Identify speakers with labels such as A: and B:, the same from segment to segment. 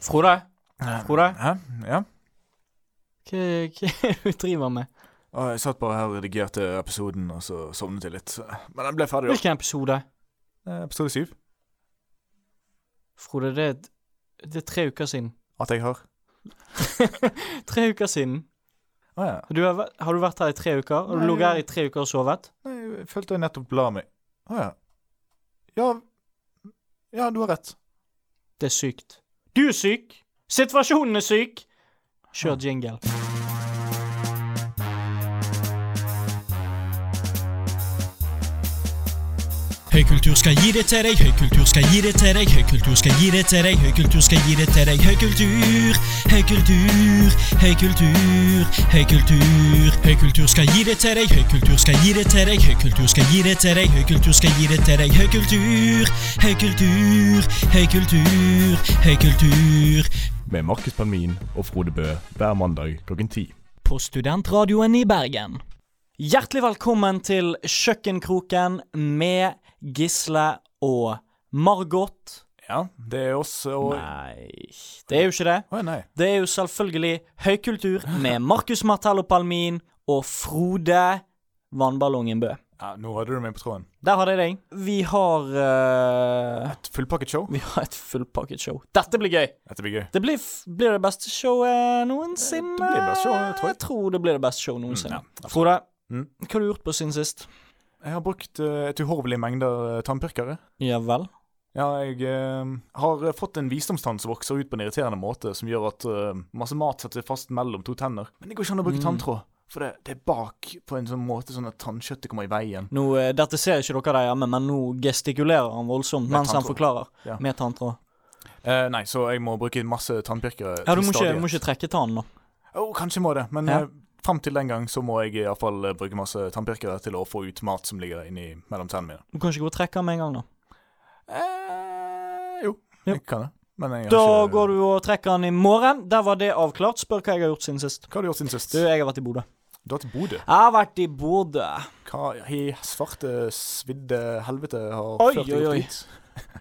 A: Frode, Frode?
B: Hæ? Ja?
A: hva, hva er det du driver med?
B: Og jeg satt bare her og redigerte episoden, og så sovnet jeg litt. Men den ble ferdig, da.
A: Hvilken episode?
B: Eh, Episode syv.
A: Frode, det er, det er tre uker siden.
B: At jeg har.
A: Tre uker siden.
B: Å ja.
A: Du har, væ- har du vært her i tre uker? Har du
B: Nei.
A: ligget her i tre uker og sovet?
B: Nei, jeg følte jeg nettopp la meg. Å ja. Ja Ja, du har rett.
A: Det er sykt. Du er syk! Situasjonen er syk! Kjør jingle.
C: Høykultur skal gi det til deg, høykultur skal gi det til deg, høykultur skal gi det til deg, høykultur skal gi det til deg, høykultur, høykultur, høykultur, høykultur. Høykultur skal gi det til deg, høykultur skal gi det til deg, høykultur skal gi det til deg, høykultur skal gi det til deg, høykultur, høykultur, høykultur, høykultur.
D: med Markus Palmin og Frode Bø hver mandag klokken 10.
C: På Studentradioen i Bergen.
A: Hjertelig velkommen til Kjøkkenkroken med Gisle og Margot.
B: Ja, det er oss og Å
A: Nei, det er jo ikke det.
B: ja, nei.
A: Det er jo selvfølgelig høykultur med Markus Martello Palmin og Frode Vannballongen Bø.
B: Ja, nå hadde du meg på tråden.
A: Der har de deg. Vi har eh,
B: Et fullpakket show.
A: Vi har et fullpakket show. Dette blir gøy.
B: Dette blir gøy.
A: Det blir, f- blir det beste showet noensinne.
B: Det blir det beste showet, tror jeg.
A: tror det blir det beste showet noensinne.
B: Mm, ja, absolutt.
A: Frode,
B: Mm.
A: hva har du gjort på siden sist?
B: Jeg har brukt eh, et uhorvelig mengder eh, tannpirkere.
A: Ja vel?
B: Ja, jeg eh, har fått en visdomstann som vokser ut på en irriterende måte, som gjør at eh, masse mat setter seg fast mellom to tenner. Men det går ikke an å bruke
A: Mm.
B: tanntråd, for det, det er bak på en sånn måte sånn at tannkjøttet kommer i veien.
A: Nå, eh, dette ser ikke dere der hjemme, men nå gestikulerer han voldsomt mens han
B: tanntråd.
A: forklarer.
B: Ja.
A: Med tanntråd.
B: Eh, nei, så jeg må bruke masse tannpirkere.
A: Ja, du
B: til
A: må ikke,
B: stadighet.
A: må ikke trekke tannen nå.
B: Å, kanskje må det, men
A: Ja.
B: eh, frem til den gang så må jeg iallfall eh, bruke masse tannpirkere til å få ut mat som ligger inni mellom tennene mine.
A: Du kan ikke gå og trekke den med en gang, da.
B: Eh, jo,
A: Ja.
B: jeg kan det. Men jeg har
A: Da
B: ikke
A: går du og trekker den i morgen. Der var det avklart. Spør hva jeg har gjort siden sist.
B: Hva har du gjort siden sist?
A: Du, jeg har vært i Bodø.
B: Du har til Bodø.
A: Jeg har vært i Bodø.
B: Hva i svarte, svidde helvete har
A: Oi,
B: ført
A: oi,
B: deg opp
A: oi.
B: dit?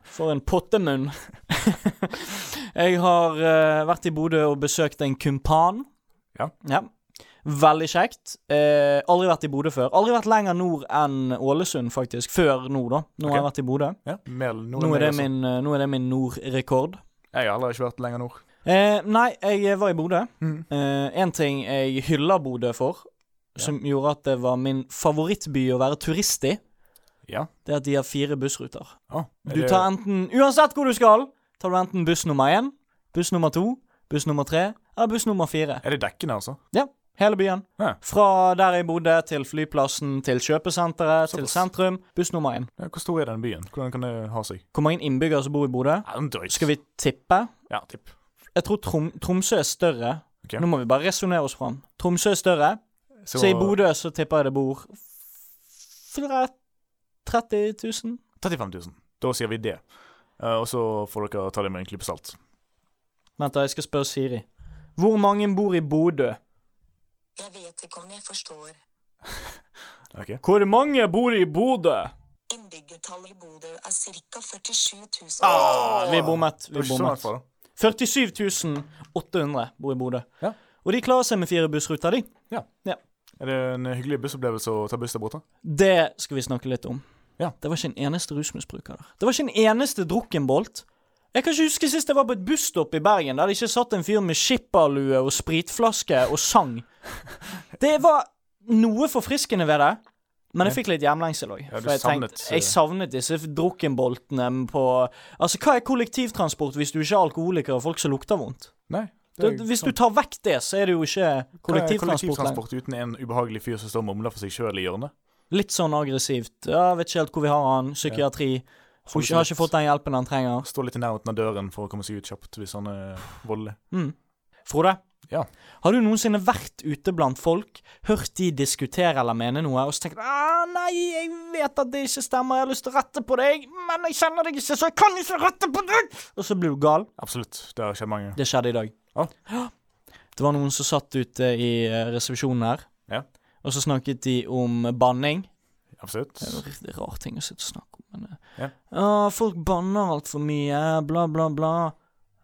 A: For en pottemunn. jeg har eh, vært i Bodø og besøkt en kumpan.
B: Ja.
A: Veldig kjekt. Eh, aldri vært i Bodø før. Aldri vært lenger nord enn Ålesund, faktisk. Før nå, da. Nå har jeg vært i Bodø.
B: Ja, mer, nå,
A: Nå er det
B: også.
A: min, eh, nå er det min nordrekord.
B: altså. Jeg har heller ikke vært lenger nord.
A: Eh, nei, jeg var i Bodø.
B: Mhm.
A: Eh, en ting jeg hyller Bodø for, som gjorde at det var min favorittby å være turist i,
B: Ja.
A: det er at de har fire bussruter.
B: Ah, er
A: Du
B: det-
A: tar enten, uansett hvor du skal, tar du enten buss nummer én, buss nummer to, buss nummer tre, eller buss nummer fire.
B: Er det dekkende, altså?
A: Ja, hele byen.
B: Ja.
A: Fra der jeg bodde, til flyplassen, til kjøpesenteret, til
B: Såpass.
A: sentrum. Buss nummer én.
B: Ja, hvor stor er den byen? Hvordan kan det ha seg?
A: Hvor mange innbyggere som bor i Bodø?
B: Ja, den drøyt.
A: Skal vi tippe?
B: Ja, tipp.
A: Jeg tror Trom Tromsø er større.
B: Ok.
A: Nå må vi bare resonnere oss fram. Tromsø er større. Så i Bodø så tipper jeg det bor f- tre- 30 000?
B: 35 000. Da sier vi det. Eh, og så får dere ta det med en klype salt.
A: Vent, da, jeg skal spørre Siri. Hvor mange bor i Bodø?
E: Jeg vet ikke om jeg forstår.
B: Ok.
A: Hvor mange bor i Bodø?
E: Innbyggertallet i Bodø er ca. 47 000.
A: Vi bommet.
B: Det var
A: vi
B: ikke så langt
A: bommet.
B: fra, da.
A: 47 800 bor i Bodø.
B: Ja.
A: Og de klarer seg med fire bussruter, de.
B: Er det en hyggelig bussopplevelse å ta buss der borte?
A: Det skal vi snakke litt om.
B: Ja.
A: Det var ikke en eneste rusmisbruker der. Det var ikke en eneste drukkenbolt. Jeg kan ikke huske sist jeg var på et busstopp i Bergen der det ikke satt en fyr med skipperlue og spritflaske og sang. Det var noe forfriskende ved det, men jeg fikk litt hjemlengsel òg.
B: Ja, du
A: for jeg,
B: savnet, eh,
A: tenkte- jeg savnet disse drukkenboltene på Altså, hva er kollektivtransport hvis du ikke er alkoholiker og folk som lukter vondt?
B: Nei.
A: Da, hvis du tar vekk det, så er det jo ikke kollektivtransport lenger.
B: Kollektivtransport uten en ubehagelig fyr som står og mumler for seg sjøl i hjørnet.
A: Litt sånn aggressivt. Ja, vet ikke helt hvor vi har han. Psykiatri. Får ikke, har ikke fått den hjelpen han trenger.
B: Står litt i nærheten av døren for å komme seg ut kjapt hvis han er voldelig.
A: Frode,
B: Ja.
A: har du noensinne vært ute blant folk, hørt de diskutere eller mene noe, og så tenkt ah, 'Nei, jeg vet at det ikke stemmer, jeg har lyst til å rette på deg, men jeg kjenner deg ikke, så jeg kan ikke rette på deg!' Og så blir du gal.
B: Absolutt. Det har skjedd mange.
A: Det skjedde i dag.
B: Ja.
A: Det var noen som satt ute i eh, resepsjonen her,
B: Ja.
A: og så snakket de om banning.
B: Absolutt.
A: Det er en rar ting å sitte og snakke om, men eh,
B: Ja.
A: «Å, folk banner altfor mye, bla, bla, bla.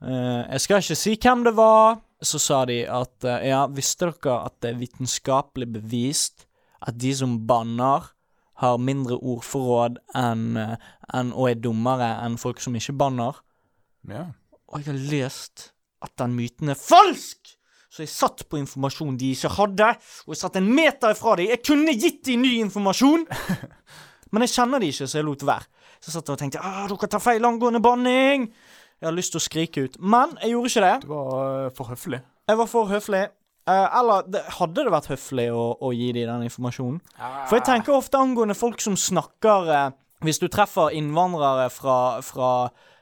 A: Eh, jeg skal ikke si hvem det var. Så sa de at eh, ja, visste dere at det er vitenskapelig bevist at de som banner, har mindre ordforråd enn, eh, enn og er dummere enn folk som ikke banner?
B: Ja.
A: Og jeg har lest at den myten er falsk! Så jeg satt på informasjon de ikke hadde, og jeg satt en meter ifra dem. Jeg kunne gitt dem ny informasjon, men jeg kjenner de ikke, så jeg lot være. Så jeg satt og tenkte ah, dere tar feil angående banning. Jeg har lyst til å skrike ut, men jeg gjorde ikke det.
B: Det var eh, for høflig.
A: Jeg var for høflig. Eh, eller det, hadde det vært høflig å, å gi dem den informasjonen?
B: Ah.
A: For jeg tenker ofte angående folk som snakker eh, Hvis du treffer innvandrere fra, fra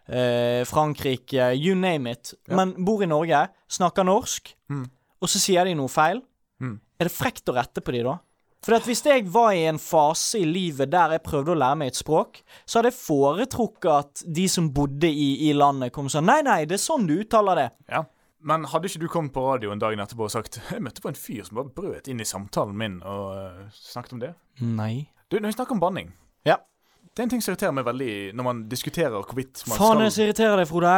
A: eh, Frankrike, you name it, men bor i Norge, snakker norsk,
B: Mm.
A: og så sier de noe feil,
B: Mm.
A: er det frekt å rette på de da? For at hvis jeg var i en fase i livet der jeg prøvde å lære meg et språk, så hadde jeg foretrukket at de som bodde i, i landet, kom og sa nei, nei, det er sånn du uttaler det.
B: Ja. Men hadde ikke du kommet på radioen dagen etterpå og sagt Jeg møtte på en fyr som bare brøt inn i samtalen min og eh, snakket om det?
A: Nei.
B: Du, når vi snakker om banning
A: Ja.
B: Det er en ting som irriterer meg veldig når man diskuterer hvorvidt man
A: Faen,
B: skal
A: jeg så irriterer deg, Frode.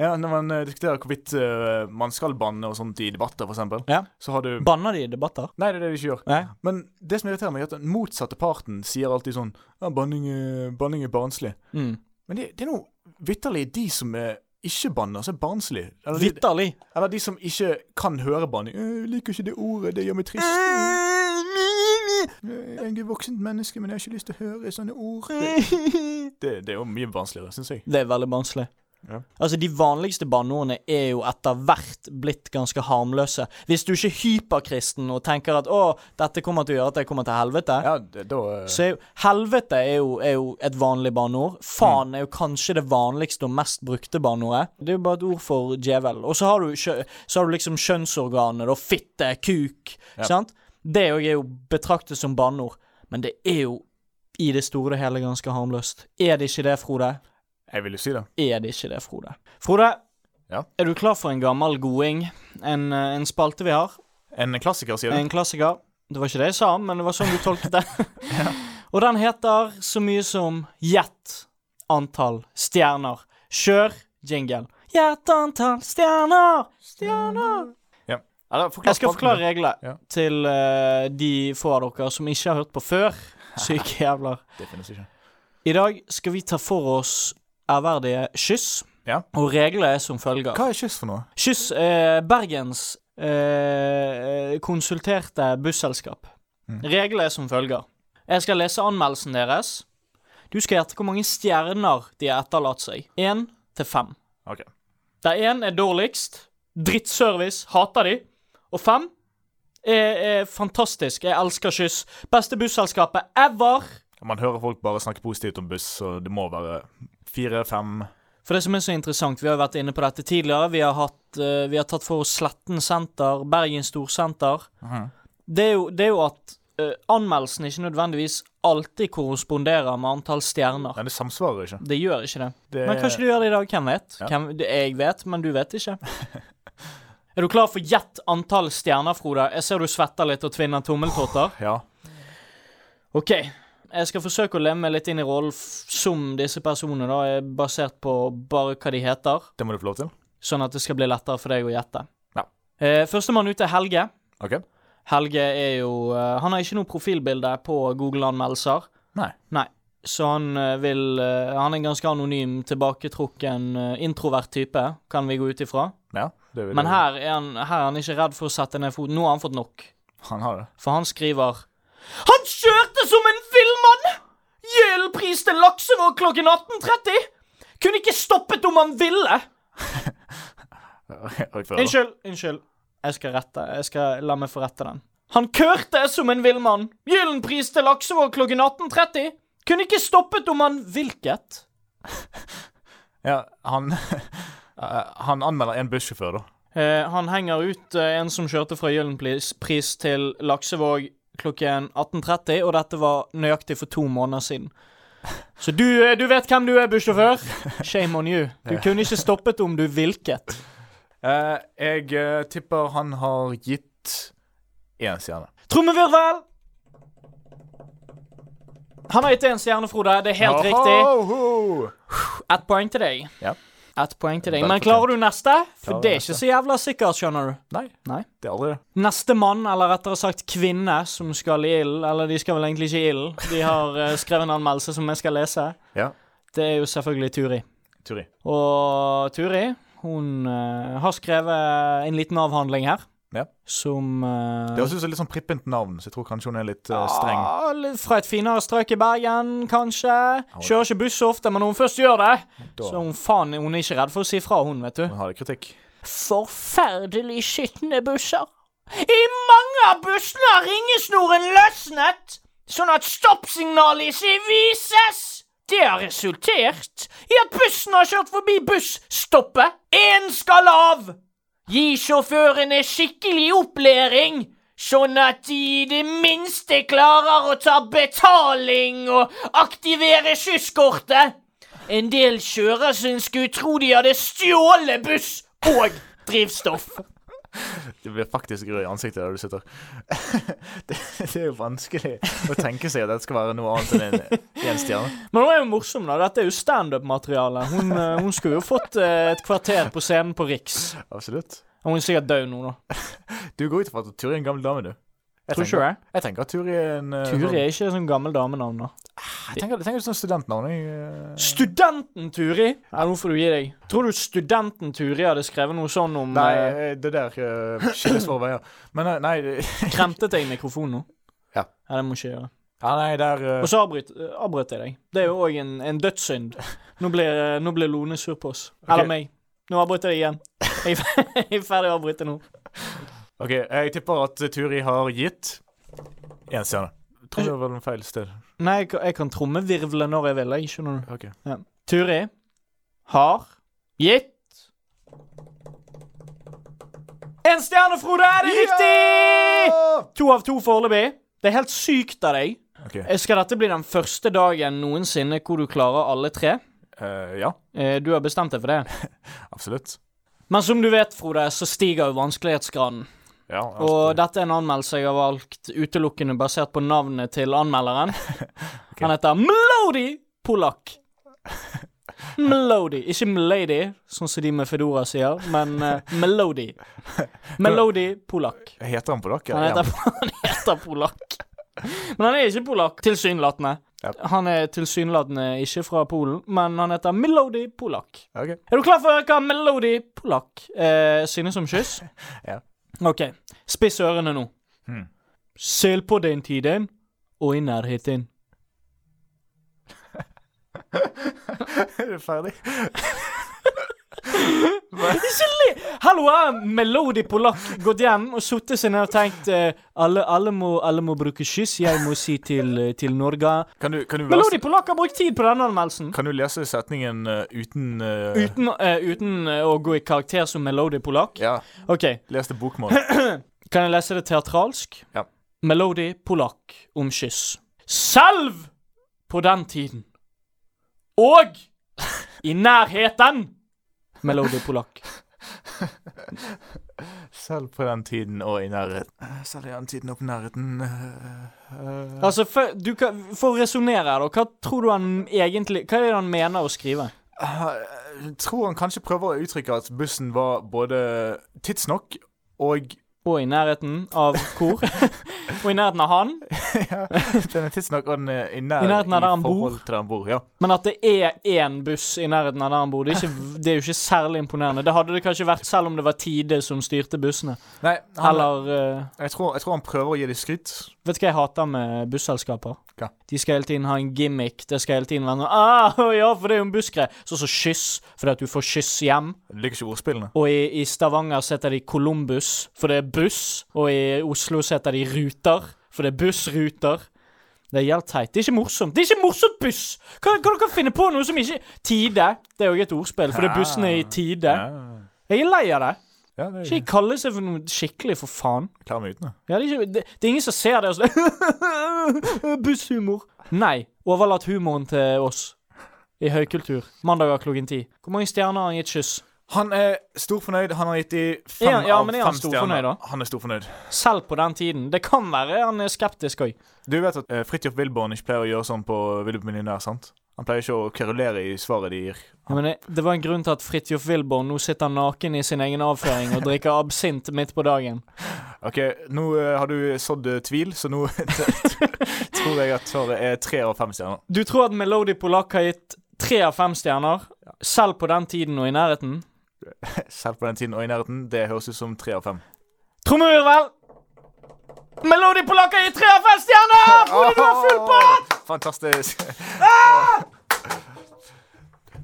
B: Ja, Når man eh, diskuterer hvorvidt eh, man skal banne og sånt i debatter, for eksempel,
A: Ja.
B: så har du
A: Banner de i debatter?
B: Nei, det er det de ikke gjør.
A: Nei.
B: Men det som irriterer meg, er at den motsatte parten sier alltid sånn ja, banning, er- 'Banning er barnslig'.
A: Mm.
B: Men det, det er noe vitterlig de som er ikke banner, som er barnslig. Eller de,
A: Vitterlig.
B: eller de som ikke kan høre banning. «Øh, 'Jeg liker ikke det ordet, det gjør meg trist'.
A: Mm.
B: «Øh, 'Jeg er et voksent menneske, men jeg har ikke lyst til å høre sånne ord'.
A: Mm.
B: Det, det, det er jo mye barnsligere, syns jeg.
A: Det er veldig barnslig.
B: Ja.
A: Altså, De vanligste banneordene er jo etter hvert blitt ganske harmløse. Hvis du ikke er hyperkristen og tenker at 'Å, dette kommer til å gjøre at jeg kommer til helvete',
B: Ja, det, da eh,
A: så er jo Helvete er jo, er jo et vanlig banneord. Faen er jo kanskje det vanligste og mest brukte banneordet. Det er jo bare et ord for djevel. Og så har du, kjø- så har du liksom kjønnsorganet, da. Fitte, kuk. Sant? Det òg er jo betraktet som banneord. Men det er jo i det store og hele ganske harmløst. Er det ikke det, Frode?
B: Jeg vil jo si det.
A: Er det ikke det, Frode? Frode,
B: Ja?
A: er du klar for en gammel goding? En, eh, en spalte vi har?
B: En klassiker, sier du?
A: En klassiker. Det var ikke det jeg sa, men det var sånn du tolket det. Og den heter så mye som Gjett antall stjerner. Kjør jingle. Gjett antall stjerner! Stjerner!
B: Ja. Eller, forklar
A: Jeg skal
B: spalten
A: forklare
B: din.
A: reglene
B: Ja.
A: til eh, de få av dere som ikke har hørt på før. Syke jævler.
B: Det finnes ikke.
A: I dag skal vi ta for oss ærverdige kyss.
B: Ja.
A: Og reglene er som følger.
B: Hva er kyss for noe?
A: Kyss eh, Bergens eh, konsulterte busselskap. Reglene er som følger. Jeg skal lese anmeldelsen deres. Du skal gjette hvor mange stjerner de har etterlatt seg. Én til fem.
B: Ok.
A: Der én er dårligst, drittservice, hater de. Og fem er, er fantastisk, jeg elsker kyss. Beste busselskapet ever.
B: Man hører folk bare snakke positivt om buss, så det må være fire, fem
A: For det som er så interessant, vi har jo vært inne på dette tidligere. Vi har, hatt, eh, vi har tatt for oss Sletten senter, Bergen storsenter.
B: Mhm.
A: det, er jo, det er jo at eh, anmeldelsen ikke nødvendigvis alltid korresponderer med antall stjerner.
B: Nei, det samsvarer ikke.
A: Det gjør ikke det.
B: Det-
A: Men kanskje du gjør det i dag. Hvem vet?
B: Ja.
A: Hvem, det, jeg vet, men du vet ikke. er du klar for gjett antall stjerner, Frode? Jeg ser du svetter litt og tvinner tommeltotter.
B: Ja.
A: OK. Jeg skal forsøke å leve meg litt inn i rollen f- som disse personene, da, er basert på bare hva de heter.
B: Det må du få lov til.
A: sånn at det skal bli lettere for deg å gjette.
B: Ja.
A: Eh, Førstemann ut er Helge.
B: OK?
A: Helge er jo eh, Han har ikke noe profilbilde på Google-anmeldelser.
B: Nei.
A: Nei. Så han eh, vil eh, Han er en ganske anonym, tilbaketrukken, eh, introvert type, kan vi gå ut ifra.
B: Ja, det vil
A: Men her er, han, her er han ikke redd for å sette ned foten. Nå har han fått nok.
B: Han har det.
A: For han skriver Han kjørte som en villmann! Gjeldpris til Laksevåg klokken 18.30! Kunne ikke stoppet om han ville!
B: Og jeg føler-
A: Unnskyld, unnskyld. Jeg skal rette. Jeg skal la meg få rette den. Han kørte som en villmann. Gyllen pris til Laksevåg klokken 18.30. Kunne ikke stoppet om han Hvilket?
B: Ja, han Eh, Han anmelder en bussjåfør, da.
A: Eh, han henger ut eh, en som kjørte fra Gyllen pris, pris til Laksevåg klokken 18.30, og dette var nøyaktig for to måneder siden. Så du, eh, du vet hvem du er, bussjåfør. Shame on you. Du kunne ikke stoppet om du hvilket.
B: Eh, jeg eh, tipper han har gitt én stjerne.
A: Trommevirvel! Han har gitt deg en stjerne, Frode. Det er helt riktig.
B: Ho-ho!
A: Ett poeng til deg.
B: Ja.
A: Ett poeng til deg.
B: Vel
A: Men klarer du neste? For
B: Klarer
A: det er
B: neste.
A: ikke så jævla sikkert, skjønner du.
B: Nei,
A: Nei.
B: det er aldri det.
A: Neste mann, eller rettere sagt kvinne, som skal i ilden Eller de skal vel egentlig ikke i ilden. De har eh, skrevet en anmeldelse som jeg skal lese.
B: Ja.
A: Det er jo selvfølgelig Turi.
B: Turi.
A: Og Turi, hun eh, har skrevet en liten avhandling her.
B: Ja.
A: Som eh,
B: Det høres ut som et litt sånn prippent navn, så jeg tror kanskje hun er litt eh, streng.
A: Ja, litt fra et finere strøk i Bergen, kanskje. Kjører ikke buss så ofte, men når hun først gjør det,
B: Da
A: så er hun faen hun er ikke redd for å si fra, hun, vet du.
B: hun har det kritikk.
A: Forferdelig skitne busser. I mange av bussene har ringesnoren løsnet, sånn at stoppsignalet ikke vises. Det har resultert i at bussen har kjørt forbi busstoppet. Én skal av! Gi sjåførene skikkelig opplæring, sånn at de i det minste klarer å ta betaling og aktivere skysskortet. En del kjører som skulle tro de hadde stjålet buss og drivstoff.
B: Det blir faktisk rød i ansiktet der du sitter. det, det er jo vanskelig å tenke seg at det skal være noe annet enn en, en stjerne.
A: Men hun er jo morsom, da. Dette er jo standup-materiale. Hun, eh, hun skulle jo fått eh, et kvarter på scenen på Riks.
B: Absolutt.
A: Og hun er sikkert død nå, da.
B: Du går ut ifra at Turi er en gammel dame, du. Jeg
A: Tror ikke
B: tenker,
A: det.
B: jeg tenker at Turi er en eh,
A: Turi
B: sånn-
A: er ikke et sånn gammel damenavn, da.
B: Jeg tenker, jeg tenker sånn studentnavn. Jeg, eh,
A: Studenten Turi! Ja, nå får du gi deg. Tror du studenten Turi hadde skrevet noe sånn om
B: Nei,
A: eh,
B: eh, det der eh, skilles våre veier. Men eh, nei det-
A: Kremtet jeg mikrofonen nå?
B: Ja.
A: ja. Det må ikke jeg gjøre.
B: Ja, nei, der eh,
A: Og så avbryt, eh, avbrøt jeg deg. Det er jo òg en, en dødssynd. Nå blir, eh, nå blir Lone sur på oss. Eller meg. Nå avbrøt jeg deg igjen. Jeg er fer- jeg er ferdig å avbryte nå.
B: OK, jeg tipper at Turi har gitt én stjerne. Tror det var en feil sted.
A: Nei, jeg, kan- jeg kan trommevirvle når jeg vil. Jeg skjønner du.
B: Ok.
A: Turi har gitt En stjerne, Frode! Er det riktig? To av to foreløpig. Det er helt sykt av deg.
B: Ok,
A: Eh, Skal dette bli den første dagen noensinne hvor du klarer alle tre?
B: eh, Ja,
A: Eh, Du har bestemt deg for det.
B: absolutt.
A: Men som du vet, Frode, så stiger jo vanskelighetsgraden.
B: Ja,
A: Og
B: altså,
A: dette er en anmeldelse jeg har valgt utelukkende basert på navnet til anmelderen. Han heter Melody Polak. Melody. Ikke Melady, sånn som de med Fedora sier, men eh, Melody. Melody Polak.
B: Heter han polakk?
A: Han heter, han heter Polak. Men han er ikke polakk, tilsynelatende.
B: Ja.
A: Han er tilsynelatende ikke fra Polen, men han heter Melody Polak.
B: Ja. Ok.
A: Er du klar for å høre hva Melody Polak eh, synes om kyss?
B: Ja.
A: OK. Spiss ørene nå.
B: Hmm.
A: Sel på den tiden, og i nærheten.
B: Er du ferdig?
A: Ikke le! Hallo, har Melody Polak gått hjem og sittet seg ned og tenkt eh, alle, alle, må, alle må bruke kyss, jeg må si til, eh, til Norge
B: Kan du, kan du,
A: Melody
B: lese,
A: Polak har brukt tid på denne anmeldelsen.
B: kan du lese setningen eh, uten eh,
A: Uten, eh, uten eh, å gå i karakter som Melody Polak.
B: Ja,
A: OK.
B: les det bokmål.
A: Kan jeg lese det teatralsk?
B: Ja.
A: Melody Polak om kyss. Selv på den tiden. Og i nærheten. Melody Polak.
B: Selv på den tiden og i nærheten. eh, Selv i den tiden og på nærheten eh, eh,
A: Altså, for, du kan, for å resonnere her, da. Hva tror du han egentlig Hva er det han mener å skrive?
B: Jeg eh, tror han kanskje prøver å uttrykke at bussen var både tidsnok og
A: Og i nærheten av hvor? og i nærheten av han?
B: Den er tidsnok og den er i, nær,
A: I nærheten av der han bor.
B: forhold til der han bor. Ja.
A: Men at det er én buss i nærheten av der han bor, det er, ikke, det er jo ikke særlig imponerende. Det hadde det kanskje vært selv om det var Tide som styrte bussene.
B: Nei, han,
A: Eller eh,
B: jeg, tror, jeg tror han prøver å gi dem skryt.
A: Vet du hva jeg hater med busselskaper?
B: Hva?
A: De skal hele tiden ha en gimmick. Det skal hele tiden være noe ah, å Ja, for det er jo en bussgreie. Sånn som skyss, fordi at du får skyss hjem.
B: Jeg liker ikke ordspillene.
A: Og i, i Stavanger så heter de Columbus, for det er buss. Og i Oslo så heter de Ruter, for det er bussruter. Det er helt teit. Det er ikke morsomt. Det er ikke morsomt buss! Kan, kan dere finne på noe som ikke Tide. Det er jo et ordspill, for det er bussene i tide. Jeg er lei av det.
B: Ja, det er
A: Ikke kalle seg for noe skikkelig, for faen.
B: klar med uten det.
A: Ja, det, er ikke, det, det er ingen som ser det og sånn Busshumor. Nei. Overlat humoren til oss. I høykultur. Mandager klokken ti. Hvor mange stjerner har han gitt kyss?
B: Han er storfornøyd. Han har gitt i fem
A: Er han- ja,
B: av
A: men er
B: fem
A: han storfornøyd, da?
B: Han er storfornøyd.
A: Selv på den tiden. Det kan være han er skeptisk òg.
B: Du vet at uh, Fridtjof Wilborn ikke pleier å gjøre sånn på Vil du bli millionær, sant? Han pleier ikke å kverulere i svaret de gir.
A: Men det, det var en grunn til at Fridtjof Wilborn nå sitter naken i sin egen avføring og drikker absint midt på dagen.
B: OK, nå eh, har du sådd eh, tvil, så nå tror jeg at svaret er tre av fem stjerner.
A: Du tror at Melody Polak har gitt tre av fem stjerner, selv på den tiden og i nærheten?
B: Selv på den tiden og i nærheten. Det høres ut som tre av fem.
A: Trommeurvel! Melody Polak har gitt tre av fem stjerner! Frode, du har full på!
B: Fantastisk.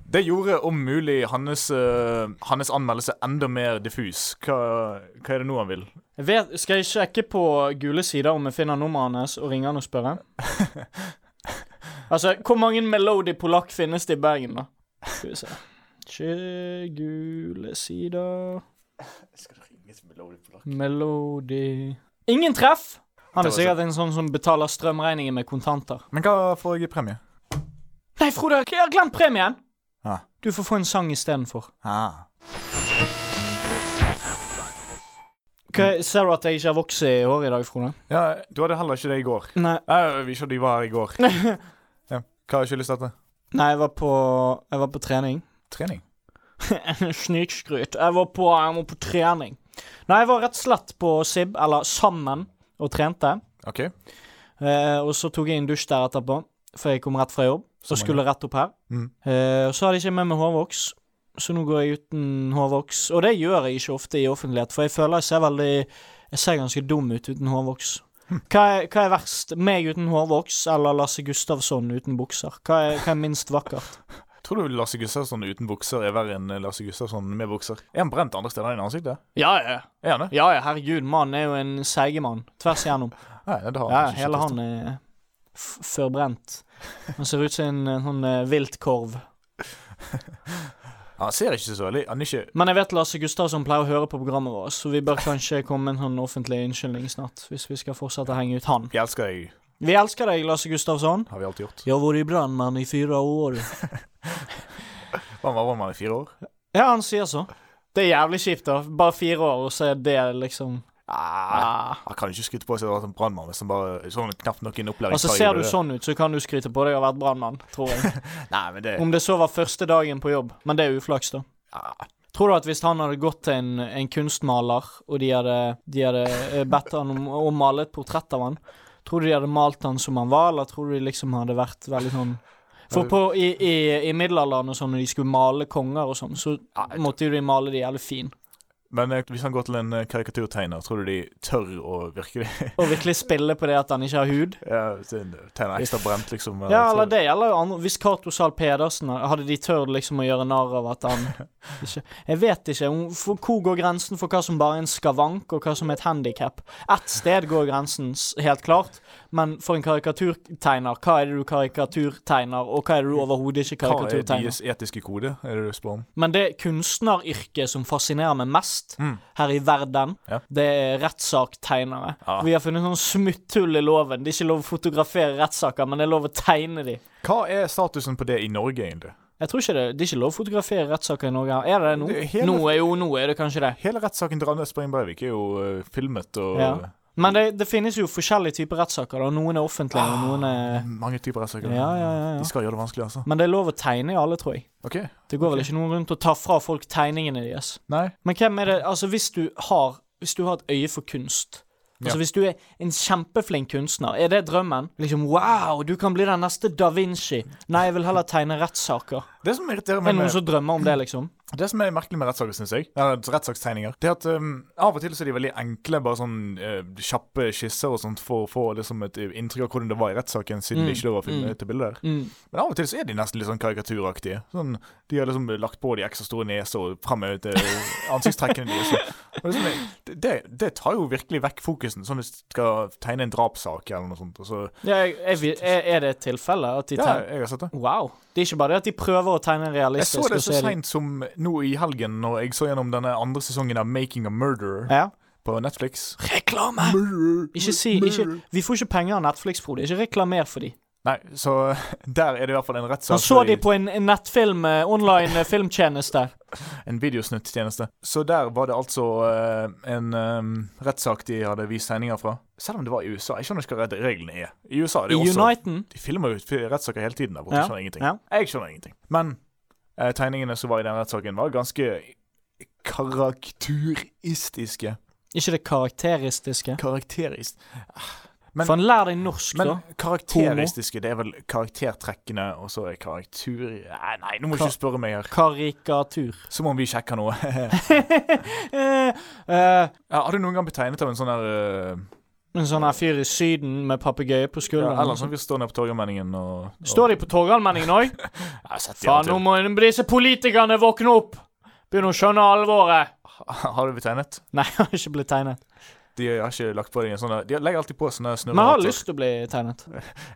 B: Det gjorde om mulig hans, eh, hans anmeldelse enda mer diffus. Hva, hva er det nå han vil?
A: Jeg Vet, skal jeg sjekke på gule sider om jeg finner nummeret hans, og ringe han og spørre? altså, hvor mange Melody Polak finnes det i Bergen, da? Skal vi se. Ikke gule sider Melody Ingen treff! Han er sikkert en sånn som betaler strømregningen med kontanter.
B: Men hva får jeg i premie?
A: Nei, Frode, jeg har glemt premien!
B: Ja.
A: Du får få en sang istedenfor.
B: Ah.
A: Hva- Ser du at jeg ikke har vokst i håret i dag, Frode?
B: Ja, du hadde heller ikke det i går.
A: Nei.
B: Nei, vi ikke at de var her i går. ja. Hva skyldes dette?
A: Nei, jeg var på, jeg var på trening.
B: Trening.
A: Snikskryt. Jeg var på, jeg var på trening. Nei, jeg var rett og slett på SIB, eller Sammen, og trente.
B: OK.
A: Eh, og så tok jeg en dusj der etterpå, for jeg kom rett fra jobb.
B: Som
A: Og skulle rett opp her.
B: Mm.
A: Eh, og så hadde jeg ikke med meg hårvoks, så nå går jeg uten hårvoks. Og det gjør jeg ikke ofte i offentlighet, for jeg føler jeg ser veldig Jeg ser ganske dum ut uten hårvoks. Hva er, hva er verst? Meg uten hårvoks eller Lasse Gustavsson uten bukser? Hva er, hva er minst vakkert?
B: Tror du Lasse Gustavsson uten bukser er verre enn Lasse Gustavsson med bukser? Er han brent andre steder enn ansiktet?
A: Ja, ja.
B: Er han det?
A: Ja, ja, herregud, mannen er jo en seigemann. Tvers igjennom.
B: Nei, det har han
A: Ja,
B: ikke
A: hele
B: skjønt.
A: han er f- førbrent. Han ser ut som en eh, sånn eh, viltkorv.
B: Han ser ikke så veldig Han er ikke
A: Men jeg vet Lasse Gustavsson pleier å høre på programmet vårt, så vi bør kanskje komme med en sånn offentlig unnskyldning snart, hvis vi skal fortsette å henge ut han.
B: Vi elsker deg,
A: Vi elsker deg, Lasse Gustavsson.
B: har vi alltid gjort.
A: Jeg har vært brannmann i fire år.
B: Han var brannmann i fire år.
A: Ja, han sier så. Det er jævlig kjipt, da. Bare fire år, og så er det liksom
B: Ah. Han kan ikke skryte på seg å ha vært en brannmann hvis han bare sånn knapt nok i en opplæring.
A: Altså, ser du sånn ut, så kan du skryte på deg å ha vært brannmann, tror jeg.
B: Nei, men det
A: Om det så var første dagen på jobb, men det er uflaks, da.
B: Ja.
A: Tror du at hvis han hadde gått til en, en kunstmaler, og de hadde, de hadde eh, bedt han om å male et portrett av han, tror du de hadde malt han som han var, eller tror du de liksom hadde vært veldig sånn For på, i, i, i middelalderen og sånn, når de skulle male konger og sånn, så måtte jo de male de jævlig fin.
B: Men eh, hvis han går til en eh, karikaturtegner, tror du de tør å virkelig
A: Og virkelig spille på det at han ikke har hud.
B: ja, tegne ekstra brent, liksom? eh,
A: Ja,
B: tror
A: eller
B: du-
A: det gjelder jo andre Hvis Cato Zahl Pedersen hadde de tørt liksom å gjøre narr av at han ikke, Jeg vet ikke. om- For, hvor går grensen for hva som bare er en skavank, og hva som er et handikap? Ett sted går grensen, s- helt klart, men for en karikaturtegner, hva er det du karikaturtegner, og hva er det du overhodet ikke
B: Hva er
A: karikaturtegner?
B: deres etiske kode, er det du spør om?
A: Men det kunstneryrket som fascinerer meg mest her i verden,
B: Mm. Ja.
A: det er rettssaktegnere.
B: Ja.
A: Vi har funnet sånn smutthull i loven. Det er ikke lov å fotografere rettssaker, men det er lov å tegne de.
B: Hva er statusen på det i Norge, egentlig?
A: Jeg tror ikke det, det er ikke lov å fotografere rettssaker i Norge. Er det det nå?
B: Det er hele-
A: Nå er jo nå er det kanskje det.
B: Hele rettssaken til Randers Breen Breivik er jo eh, filmet og
A: Ja. Men det, det finnes jo forskjellige typer rettssaker. da. Noen er offentlige, og noen er
B: Mange typer rettssaker.
A: Ja, ja, ja, ja.
B: De skal gjøre det vanskelig, altså.
A: Men det er lov å tegne i alle, tror jeg.
B: OK.
A: Det går vel ikke noen rundt og tar fra folk tegningene deres.
B: Nei.
A: Men hvem er det Altså, hvis du har Hvis du har et øye for kunst Altså,
B: Ja.
A: Hvis du er en kjempeflink kunstner, er det drømmen? Liksom, Wow, du kan bli den neste da Vinci. Nei, jeg vil heller tegne rettssaker.
B: Det som irriterer
A: Er det
B: meg
A: noen
B: med,
A: som drømmer om det, liksom?
B: Det som er merkelig med rettssaker, syns jeg, eller rettssakstegninger, det er at um, av og til så er de veldig enkle, bare sånn eh, kjappe skisser og sånt for å få liksom et eh, inntrykk av hvordan det var i rettssaken, siden det ikke lov å filme til bilder.
A: Mm.
B: Men av og til så er de nesten litt sånn karikaturaktige. Sånn, de har liksom lagt på de ekstra store neser og framhevet eh, ansiktstrekkene de også. Og liksom, det, det, det tar jo virkelig vekk fokusen, sånn hvis du skal tegne en drapssak eller noe sånt. Og så,
A: Ja, jeg, jeg, vil- er, er det et tilfelle at de
B: ja,
A: tegner
B: jeg har sett det.
A: Wow. Det er ikke bare det at de prøver å tegne en
B: Jeg
A: realistisk
B: så det
A: og
B: så
A: er de-
B: seint som nå i helgen, når jeg så gjennom denne andre sesongen av Making a Murderer
A: Ja.
B: på Netflix.
A: Reklame! Ikke si ikke, Vi får ikke penger av Netflix, Frode. Ikke reklamer for de.
B: Nei, så der er det i hvert fall en rettssak.
A: Han så
B: for-
A: de på en, en nettfilm, eh, online eh, filmtjeneste.
B: en videosnutt-tjeneste. Så der var det altså eh, en eh, rettssak de hadde vist sendinger fra. Selv om det var i USA. Jeg skjønner ikke hva rett- reglene er. I USA er
A: I
B: det også
A: Uniten.
B: De filmer jo f- rettssaker hele tiden der borte.
A: Ja,
B: Jeg skjønner ingenting.
A: ja.
B: Jeg skjønner ingenting. Men eh, tegningene som var i den rettssaken, var ganske karakturistiske.
A: Ikke det karakteristiske.
B: Karakterist... Men-
A: For han lær deg norsk,
B: Men
A: da.
B: karakteristiske, det er vel karaktertrekkene, og så er karaktur... Nei, nei, nå må du
A: Ka-
B: ikke spørre meg her.
A: Karikatur.
B: Så må vi sjekke noe.
A: Eh, eh,
B: Ja, Har du noen gang blitt tegnet av en sånn der eh,
A: en sånn her fyr i Syden med papegøye på
B: ja,
A: skulderen.
B: Eller sånn vi står nede på Torgallmenningen og, og
A: Står de på Torgallmenningen òg?
B: Ja, sett de
A: Faen,
B: av
A: nå
B: og
A: må disse politikerne våkne opp! Begynne å skjønne alvoret.
B: til. Har du blitt tegnet?
A: Nei, jeg har ikke blitt tegnet.
B: De har ikke lagt på deg en sånn der- De legger alltid på sånne
A: Men jeg har
B: snurrehatter.
A: lyst til å bli tegnet.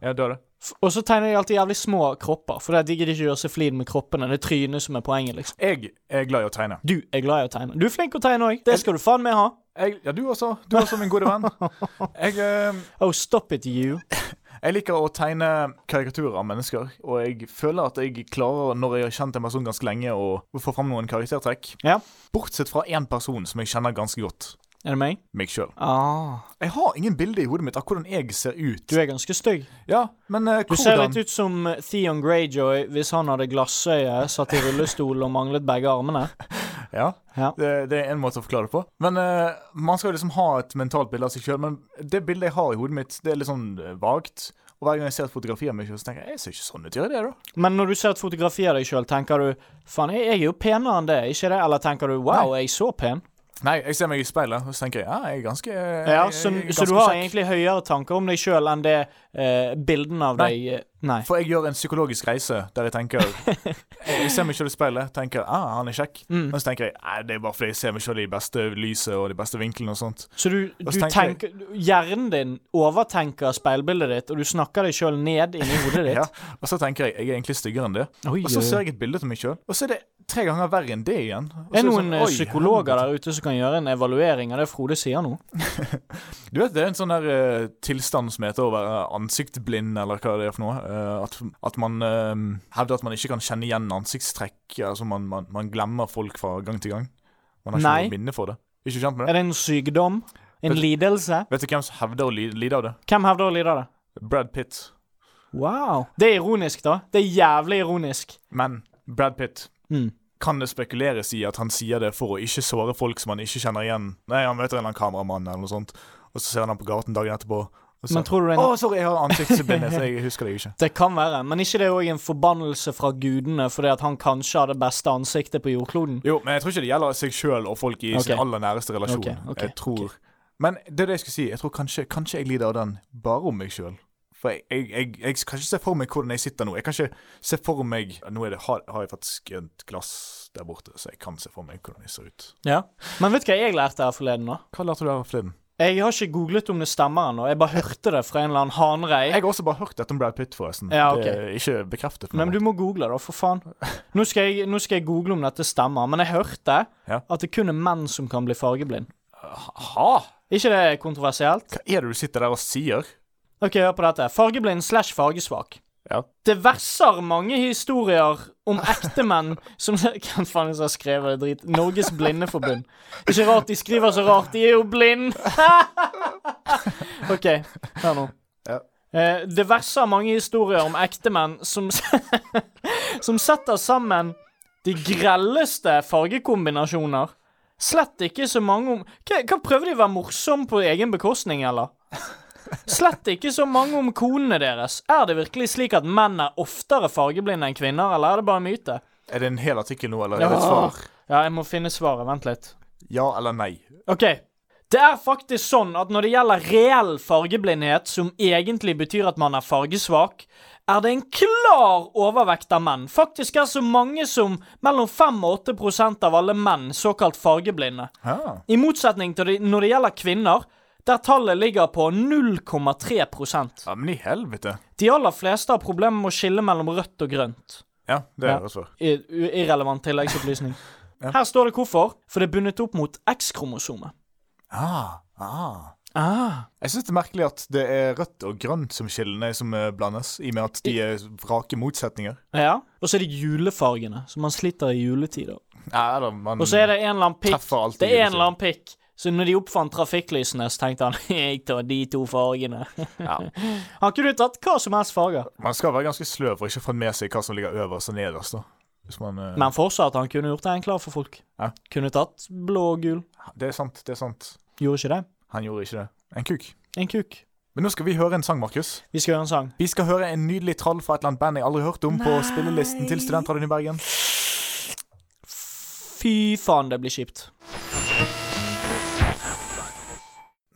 B: Ja, du har det.
A: F- Og så tegner de alltid jævlig små kropper, for det er de gidder ikke gjøre seg flid med kroppene. Det er trynet som er poenget, liksom.
B: Jeg er glad i å tegne.
A: Du er glad i å tegne. Du er flink til å tegne òg. Det skal du faen meg ha.
B: Jeg, ja, du også. Du også, min gode venn. Jeg, eh,
A: Oh, stop it, you.
B: jeg liker å tegne karikaturer av mennesker, og jeg føler at jeg klarer, når jeg har kjent en person ganske lenge, å få fram noen karaktertrekk.
A: Ja.
B: Bortsett fra én person som jeg kjenner ganske godt.
A: Er det meg?
B: Meg sjøl.
A: Ah.
B: Jeg har ingen bilde i hodet mitt av hvordan jeg ser ut.
A: Du er ganske stygg.
B: Ja, men eh,
A: Du ser
B: hvordan
A: litt ut som eh, Theon Greyjoy hvis han hadde glassøye, satt i rullestol og manglet begge armene.
B: Ja,
A: Ja.
B: Det, det er en måte å forklare det på. Men eh, Man skal jo liksom ha et mentalt bilde av seg sjøl, men det bildet jeg har i hodet mitt, det er litt sånn eh, vagt. Og hver gang jeg ser et fotografi av meg sjøl, tenker jeg jeg ser ikke sånn ut. Gjør jeg det, da?
A: Men når du ser et fotografi av deg sjøl, tenker du 'faen, jeg, jeg er jo penere enn det', ikke det? Eller tenker du 'wow, jeg er så pen'?
B: Nei, jeg ser meg i speilet, og så tenker jeg ja, jeg er ganske eh,
A: Ja,
B: jeg-
A: så,
B: jeg er
A: så
B: ganske
A: du har
B: kjekk.
A: egentlig høyere tanker om deg sjøl enn det eh, bildene av
B: Nei.
A: deg eh, Nei.
B: For jeg gjør en psykologisk reise der jeg tenker Jeg jeg ser meg sjøl i speilet, tenker ah, han er kjekk.
A: Mm.
B: Men så tenker jeg nei, det er bare fordi jeg ser meg sjøl i det beste lyset og de beste vinklene og sånt.
A: Så du,
B: Og
A: du
B: så Altså, tenker
A: tenker Hjernen din overtenker speilbildet ditt, og du snakker deg sjøl ned inni hodet ditt.
B: Ja, Og så tenker jeg jeg er egentlig styggere enn det.
A: Oi,
B: Og så
A: oi.
B: ser jeg et bilde til meg sjøl, og så er det tre ganger verre enn det igjen. Og så
A: Er det
B: det
A: noen eh,
B: sånn, oi,
A: psykologer der ute som kan gjøre en evaluering av det Frode sier nå?
B: Du vet, det er en sånn der eh, tilstand som heter å være ansiktsblind, eller hva det er for noe. eh, at, at man eh, hevder at man ikke kan kjenne igjen ansiktstrekk. Altså man, man, man glemmer folk fra gang til gang. Man har ikke
A: Nei.
B: noe minne for det. Ikke kjent med det?
A: Er det en sykdom? En
B: Vet-
A: lidelse?
B: Vet du hvem som hevder å li- lide av det?
A: Hvem hevder å lide av det?
B: Brad Pitt.
A: Wow. Det er ironisk, da. Det er jævlig ironisk.
B: Men Brad Pitt
A: Mm.
B: kan det spekuleres i at han sier det for å ikke såre folk som han ikke kjenner igjen? Nei, han møter en eller annen kameramann eller noe sånt, og så ser han ham på gaten dagen etterpå. Og så,
A: Men tror du det er
B: Å,
A: en
B: sorry, jeg har ansiktsblindhet, jeg husker det ikke.
A: Det kan være, men ikke det er òg en forbannelse fra gudene fordi at han kanskje har det beste ansiktet på jordkloden?
B: Jo, men jeg tror ikke det gjelder seg sjøl og folk i sin
A: Ok.
B: aller næreste relasjon.
A: Ok, ok,
B: jeg tror Men det er det jeg skulle si. Jeg tror kanskje, kanskje jeg lider av den bare om meg sjøl. For jeg, jeg, jeg, jeg kan ikke se for meg hvordan jeg sitter nå. Jeg kan ikke se for meg Nå er det, har, har jeg faktisk et glass der borte, så jeg kan se for meg hvordan jeg ser ut.
A: Ja. Men vet du hva jeg lærte her forleden, da?
B: Hva lærte du her forleden?
A: Jeg har ikke googlet om det stemmer ennå, jeg bare hørte det fra en eller annen hanrei.
B: Jeg har også bare hørt dette om Brad Pitt, forresten.
A: Ja, ok.
B: Det er ikke bekreftet. for
A: Nei, men
B: meg.
A: du må google, da, for faen. Nå skal, jeg, nå skal jeg google om dette stemmer, men jeg hørte
B: Ja.
A: at det kun er menn som kan bli fargeblind.
B: Aha!
A: Ikke det er kontroversielt?
B: Hva er det du sitter der og sier?
A: Ok, hør på dette. Fargeblind slash fargesvak.
B: Ja.
A: Det verser mange historier om ektemenn som Hvem faen er det som har skrevet det drit? Norges Blindeforbund. Ikke rart de skriver så rart. De er jo blind! OK, hør nå.
B: Ja.
A: Eh, det verser mange historier om ektemenn som, som setter sammen de grelleste fargekombinasjoner. Slett ikke så mange om Hva, hva prøver de å være morsom på egen bekostning, eller? Slett ikke så mange om konene deres. Er det virkelig slik at menn er oftere fargeblinde enn kvinner, eller er det bare myte?
B: Er det en hel artikkel nå, eller er det et
A: Ja.
B: svar?
A: Ja, jeg må finne svaret. Vent litt.
B: Ja eller nei?
A: OK. Det er faktisk sånn at når det gjelder reell fargeblindhet, som egentlig betyr at man er fargesvak, er det en klar overvekt av menn. Faktisk er så mange som mellom 5 og 8 prosent av alle menn såkalt fargeblinde.
B: Ah.
A: I motsetning til det, når det gjelder kvinner, der tallet ligger på 0,3 prosent.
B: Ja, men i helvete.
A: De aller fleste har problemer med å skille mellom rødt og grønt.
B: Ja, det
A: Ja.
B: er et svar.
A: I, u- irrelevant tilleggsopplysning.
B: Ja.
A: Her står det hvorfor, for det er bundet opp mot X-kromosomet.
B: Ah, ah.
A: Ah,
B: Jeg syns det er merkelig at det er rødt og grønt som skillene som eh, blandes, i og med at de er vrake motsetninger.
A: ja. Og så er det julefargene, som man sliter i juletider.
B: Ja, eller man
A: Og så er det en eller annen pikk.
B: Mm. treffer alltid
A: Det er en
B: julesiden.
A: eller annen pikk. Så når de oppfant trafikklysene, så tenkte han jeg tar de to fargene. Han kunne jo tatt hva som helst farger,
B: Man skal være ganske sløv for ikke å få med seg hva som ligger øverst og nederst. da. Hvis man, eh,
A: men fortsatt han kunne gjort det enklere for folk.
B: Ja.
A: Kunne tatt blå og gul.
B: Det er sant, det er sant.
A: Gjorde ikke det.
B: Han gjorde ikke det. En kuk.
A: En kuk.
B: Men nå skal vi høre en sang, Markus.
A: Vi skal gjøre en sang.
B: Vi skal høre en nydelig trall fra et eller annet band jeg aldri har hørt om, på spillelisten til Studentradioen i Bergen.
A: Fy faen, det blir kjipt.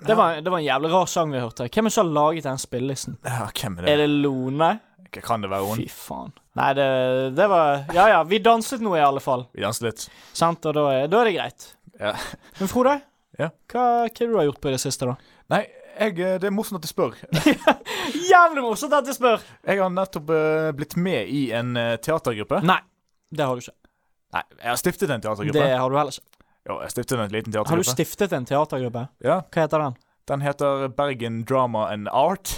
A: Det var, det var en jævlig rar sang vi hørte. Hvem er det som har laget den spillelisten?
B: Ja, hvem er
A: Er
B: det?
A: det Lone?
B: Kan det være hun?
A: Fy faen. Nei, det, det var Ja ja, vi danset nå i alle fall.
B: Vi danser litt.
A: Sant, og da er, da er det greit.
B: Ja.
A: Men Frode,
B: Ja.
A: hva, hva du har du gjort på i det siste, da?
B: Nei, jeg, eh, det er morsomt at du spør.
A: Jævlig morsomt at jeg spør!
B: Jeg har nettopp eh, blitt med i en eh, teatergruppe.
A: Nei, det har du ikke.
B: Nei, jeg har stiftet en teatergruppe.
A: Det har du heller ikke.
B: Jo, jeg stiftet en liten
A: Har du
B: teatergruppe.
A: stiftet en teatergruppe?
B: ja,
A: Hva heter den?
B: Den heter Bergen Drama and Art.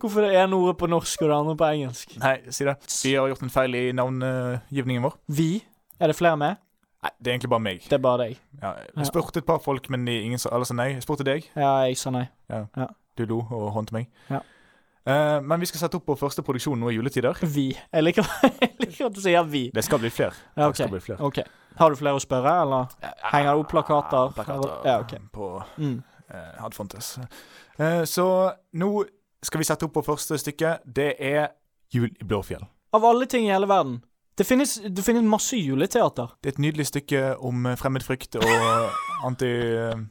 A: Hvorfor er det ene ordet på norsk og det andre på engelsk?
B: Nei, si det. Vi har gjort en feil i navngivningen vår.
A: Vi? Er det flere med?
B: Nei, det er egentlig bare meg.
A: Det er bare deg.
B: Ja, jeg spurte et par folk, men de- ingen sa, alle sa nei. Jeg spurte deg.
A: Ja, jeg sa nei.
B: Du lo og håndte meg.
A: Ja.
B: Eh, men vi skal sette opp på første produksjon nå i juletider.
A: Vi. Jeg liker, jeg liker at du sier vi.
B: Det skal bli flere.
A: Ja,
B: Det skal bli
A: ok.
B: flere.
A: ok. Har du flere å spørre, eller henger det opp plakater?
B: Plakater
A: Ja, ok.
B: på
A: Mm.
B: eh, Hadfontes. Eh, så nå skal vi sette opp på første stykke. Det er Jul i Blåfjell.
A: Av alle ting i hele verden. Det finnes, det finnes masse juleteater.
B: Det er et nydelig stykke om eh, fremmedfrykt og anti... eh,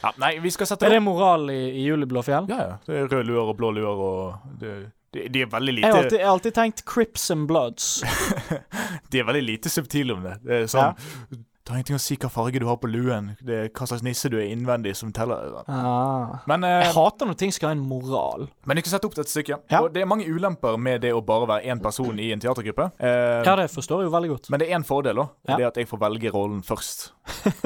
B: Ja, nei, vi skal sette
A: Er det moral i, i Juleblåfjell?
B: Ja, ja. Det er røde luer og blå luer og det, de, de er veldig
A: Jeg
B: lite
A: har alltid, jeg har alltid tenkt Crips and Bloods.
B: De er veldig lite subtile om det. Det er sånn Det har ingenting å si hva farge du har på luen, det er hva slags nisse du er innvendig som teller.
A: Ah.
B: Men,
A: Jeg
B: eh,
A: hater når ting skal ha en moral.
B: men du skal sette opp dette stykket.
A: Ja.
B: Og det er mange ulemper med det å bare være én person i en teatergruppe. Eh,
A: Ja, det forstår jeg jo veldig godt.
B: Men det er én fordel, da. og
A: Ja.
B: Det er at jeg får velge rollen først.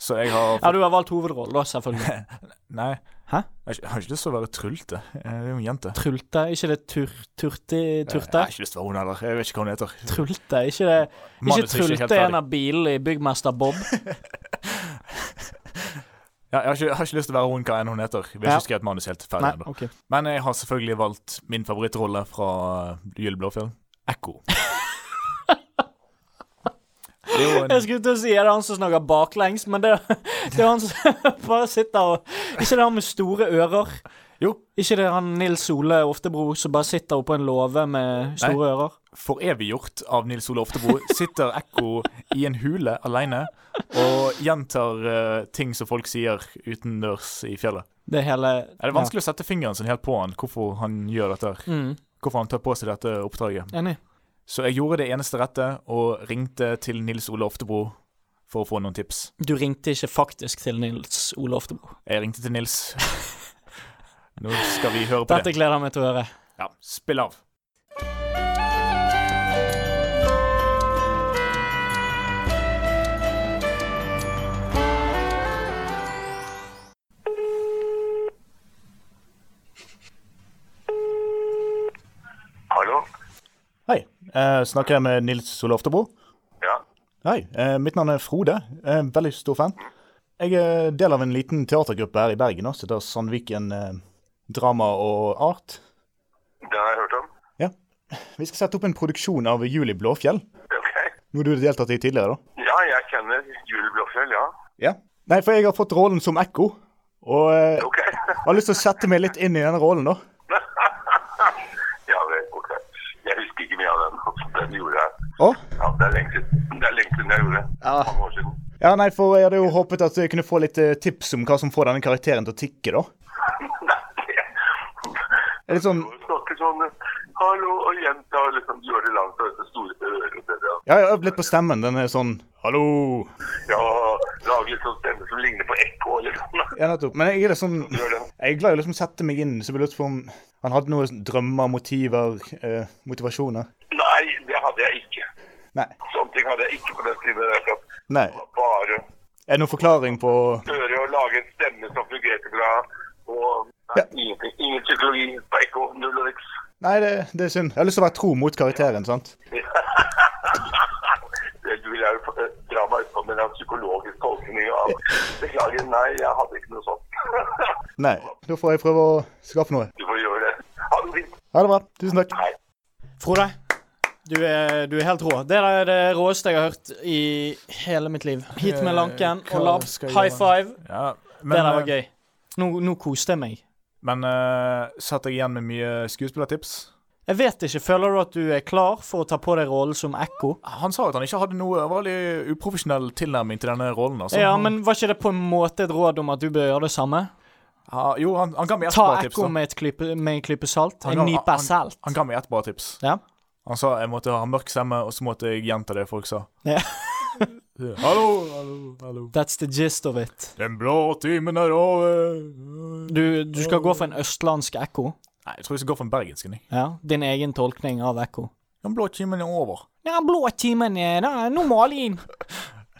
B: Så jeg har
A: Ja, du har valgt hovedrollen, da, selvfølgelig.
B: Nei.
A: Hæ?
B: Jeg har ikke- jeg har ikke lyst til å være trulte. Jeg er jo en jente.
A: Trulte, ikke det tur, turti,
B: Jeg
A: turte?
B: har ikke lyst til å være hun heller. Jeg vet ikke hva hun heter.
A: Trulte, ikke det Ikke
B: Manuset er helt
A: Trulte
B: ferdig.
A: en av bilene i Byggmester Bob.
B: Ja, jeg, har ikke, jeg har ikke lyst til å være hun hva enn hun heter. Vi har
A: Ja.
B: ikke skrevet manus helt
A: Nei,
B: ferdig ennå.
A: ok.
B: Men jeg har selvfølgelig valgt min favorittrolle fra Gylleblåfjell. Ekko. Det er jo en,
A: Jeg skulle til å si er det han som snakker baklengs, men det, det er han som bare sitter og Ikke det han med store ører?
B: Jo.
A: Ikke det han Nils Ole Oftebro som bare sitter oppå en låve med store ører?
B: foreviggjort av Nils Ole Oftebro sitter Ekko i en hule alene og gjentar eh, ting som folk sier utendørs i fjellet.
A: Det hele
B: Er det vanskelig å sette fingeren sin helt på han, hvorfor han gjør dette? her?
A: Ja. Mm,
B: Hvorfor han tar på seg dette oppdraget?
A: enig.
B: Så jeg gjorde det eneste rette og ringte til Nils Ole Oftebro for å få noen tips.
A: Du ringte ikke faktisk til Nils Ole Oftebro.
B: Jeg ringte til Nils. Nå skal vi høre på
A: Dette
B: det.
A: gleder jeg meg til å høre.
B: Ja, spill av.
F: Hallo?
B: Hei. Eh, snakker jeg med Nils Soloftebro?
F: Ja,
B: Hei. Eh, mitt navn er Frode. Jeg er en veldig stor fan. Jeg er del av en liten teatergruppe her i Bergen nå, som heter Sandviken eh, Drama og Art.
F: det har jeg hørt om.
B: Ja. Vi skal sette opp en produksjon av Juli Blåfjell.
F: Ok.
B: Noe du har deltatt i tidligere, da?
F: Ja, jeg kjenner Julie Blåfjell, ja.
B: Ja. Nei, for jeg har fått rollen som Ekko. Og eh,
F: Ok.
B: har lyst til å sette meg litt inn i den rollen, da.
F: ja vel, ok. Jeg husker ikke mye av den. altså, Den gjorde jeg.
B: Å?
F: Ja, det er lenge siden. Det er lenge siden jeg gjorde det. Mange år siden.
B: Ja, nei, for jeg hadde jo håpet at jeg kunne få litt eh, tips om hva som får denne karakteren til å tikke, da.
F: Nei, det
B: Det er Litt sånn
F: Du snakker sånn Hallo, og jenta, og liksom gjør det langt og dette store øret og det der.
B: Ja, jeg har øvd litt på stemmen. Den er sånn Hallo.
F: Ja, og lager litt sånn stemme som ligner på ekko, liksom.
B: Ja, nettopp. Men jeg er liksom
F: Gjør det.
B: Jeg er glad i å liksom sette meg inn, så jeg lurte på om han hadde noen drømmer, motiver, eh, motivasjoner.
F: Nei, det hadde jeg ikke.
B: Nei.
F: Sånne ting hadde jeg ikke på den tiden. der, for
B: Nei.
F: det var Bare
B: Er det noen forklaring på
F: Øre å lage en stemme som fungerte bra. Og nei,
B: Ja.
F: ingenting. Ingen psykologi. Psycho. Null og niks.
B: Nei, det, det er synd. Jeg har lyst til å være tro mot karakteren, sant?
F: Det Du vil jo eh, dra meg ut på med en psykologisk tolkning av Beklager, nei, jeg hadde ikke noe sånt.
B: Nei. Da får jeg prøve å skaffe noe.
F: Du får gjøre det. Ha det fint.
B: Ha det bra. Tusen takk.
A: Frode, du er, du er helt rå. Det er det råeste jeg har hørt i hele mitt liv. Hit med lanken
G: Eh, hva
A: og labs.
G: skal jeg
A: High
G: gjøre?
A: five.
G: Ja,
A: Det
G: men,
A: der var
G: eh,
A: gøy. Nå, nå koste jeg meg.
G: Men eh, satt jeg igjen med mye skuespillertips?
A: Jeg vet ikke, Føler du at du er klar for å ta på deg rollen som Ekko?
G: Han sa at han ikke hadde noe veldig uprofesjonell tilnærming til denne rollen. Altså.
A: Ja,
G: Han-
A: men Var ikke det på en måte et råd om at du bør gjøre det samme?
G: Ja, Ah, jo, han, han ga meg ett
A: Ta
G: bra tips.
A: Ekko
G: da.
A: med, et klype- med en klype salt.
G: Han
A: En
G: ga-
A: nype
G: han-
A: salt.
G: Han ga meg ett bra tips.
A: Ja.
G: Han sa jeg måtte ha mørk stemme, og så måtte jeg gjenta det folk sa.
A: Ja.
G: hallo, hallo, hallo.
A: That's the gist of it.
G: Den blå timen er over.
A: Du, du skal gå for en østlandsk Ekko.
G: Nei, jeg tror jeg skal gå for en bergensk. jeg.
A: Ja, Din egen tolkning av Ekko.
G: Den blå timen er over.
A: Ja, blå timen er da normal inn.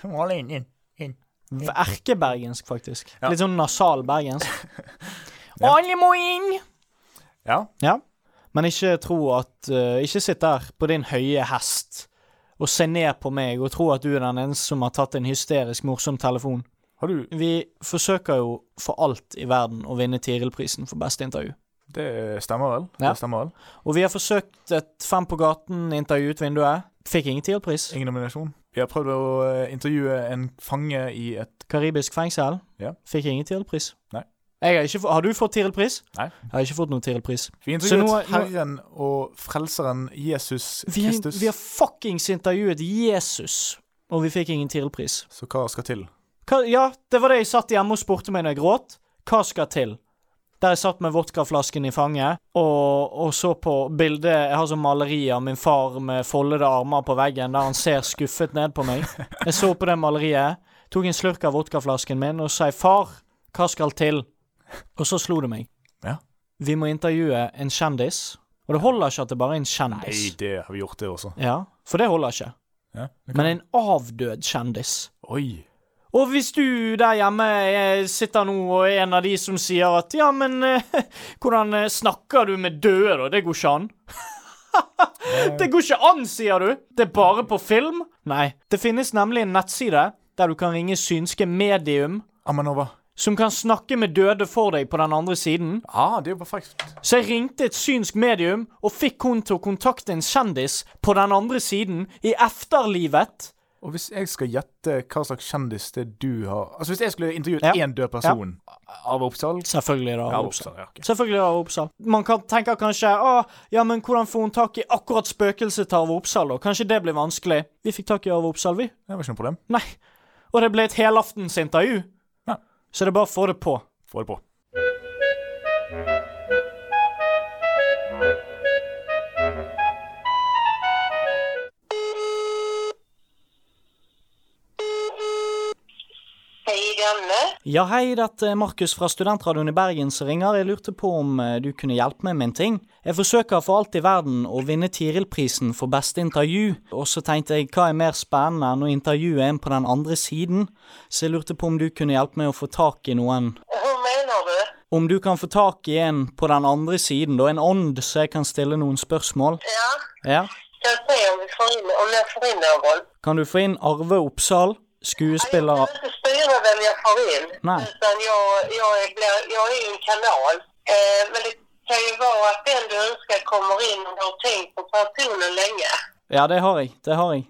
G: Jeg må alle inn, inn.
A: Erkebergensk, faktisk.
G: Ja.
A: Litt sånn nasal bergensk. Alle må inn!
G: Ja,
A: Ja. Men ikke tro at eh, Ikke sitt der på din høye hest og se ned på meg og tro at du er den eneste som har tatt en hysterisk morsom telefon.
G: har du
A: Vi forsøker jo for alt i verden å vinne Tiril-prisen for beste intervju.
G: Det stemmer vel?
A: Ja.
G: Det stemmer vel.
A: Og vi har forsøkt et Fem på gaten-intervju ut vinduet. Fikk ingen Tiril-pris.
G: Ingen nominasjon. Vi har prøvd å eh, intervjue en fange i et
A: Karibisk fengsel.
G: Ja.
A: Fikk ingen Tiril-pris.
G: Nei.
A: Jeg har, ikke, få- har du fått Tiril-pris?
G: Nei.
A: Jeg har ikke fått noen Tiril-pris.
G: Vi
A: Så nå-
G: intervjuet
A: nå-
G: Herren og Frelseren Jesus
A: Vi, har-
G: Kristus.
A: vi har fuckings intervjuet Jesus, og vi fikk ingen Tiril-pris.
G: Så hva skal til?
A: Hva, ja, det var det jeg satt hjemme og spurte meg når jeg gråt. Hva skal til? Der jeg satt med vodkaflasken i fanget og, og så på bildet Jeg har sånn maleri av min far med foldede armer på veggen, der han ser skuffet ned på meg. Jeg så på det maleriet, tok en slurk av vodkaflasken min og sa 'Far, hva skal til?' Og så slo det meg.
G: Ja.
A: Vi må intervjue en kjendis. Og det holder ikke at det bare er en
G: Nei,
A: kjendis.
G: det har vi gjort, det også.
A: Ja, For det holder ikke.
G: Ja. det kan-
A: Men en avdød kjendis.
G: Oi.
A: Og hvis du der hjemme eh, sitter nå og er en av de som sier at ja, men eh, hvordan eh, snakker du med døde, da? Det går ikke an. det går ikke an, sier du. Det er bare på film. Nei. Det finnes nemlig en nettside der du kan ringe synske medium,
G: Amanova.
A: som kan snakke med døde for deg på den andre siden.
G: Ah, det er jo perfekt.
A: Så jeg ringte et synsk medium og fikk hun til å kontakte en kjendis på den andre siden, i efterlivet.
G: Og hvis jeg skal gjette hva slags kjendis det du har Altså Hvis jeg skulle intervjuet
A: Ja.
G: én død person Arve Oppsal?
A: Selvfølgelig, da.
G: Ja,
A: Robson.
G: Oppsal. Ja, ok.
A: Selvfølgelig Arve Oppsal. Man kan tenker kanskje ah, ja, men hvordan får hun tak i akkurat spøkelset til Arve Oppsal? da? Kanskje det blir vanskelig? Vi fikk tak i Arve Oppsal, vi.
G: Det var ikke noe problem.
A: Nei. Og det ble et helaftens intervju.
G: Ja.
A: Så det er bare å få det på.
G: Få det på.
E: Hei, Janne.
A: Ja, hei, dette er eh, Markus fra Studentradioen i Bergen som ringer. Jeg lurte på om eh, du kunne hjelpe meg med en ting. Jeg forsøker for alt i verden å vinne Tiril-prisen for beste intervju, og så tenkte jeg hva er mer spennende enn å intervjue en på den andre siden, så jeg lurte på om du kunne hjelpe meg å få tak i noen
E: Hva mener du?
A: Om du kan få tak i en på den andre siden, da, en ånd, så jeg kan stille noen spørsmål?
E: Ja,
A: Ja.
E: skal vi se om vi får inn, om jeg får inn noen.
A: Kan du få inn Arve Oppsal, skuespiller
E: Jag kan inte styra vem jag får in.
A: Nej.
E: Utan jag, jag, är, blir- jag är ju en kanal. Eh, men det kan ju vara att den du önskar kommer in och du har tänkt på personen länge.
A: Ja, det har jeg. Det har jeg.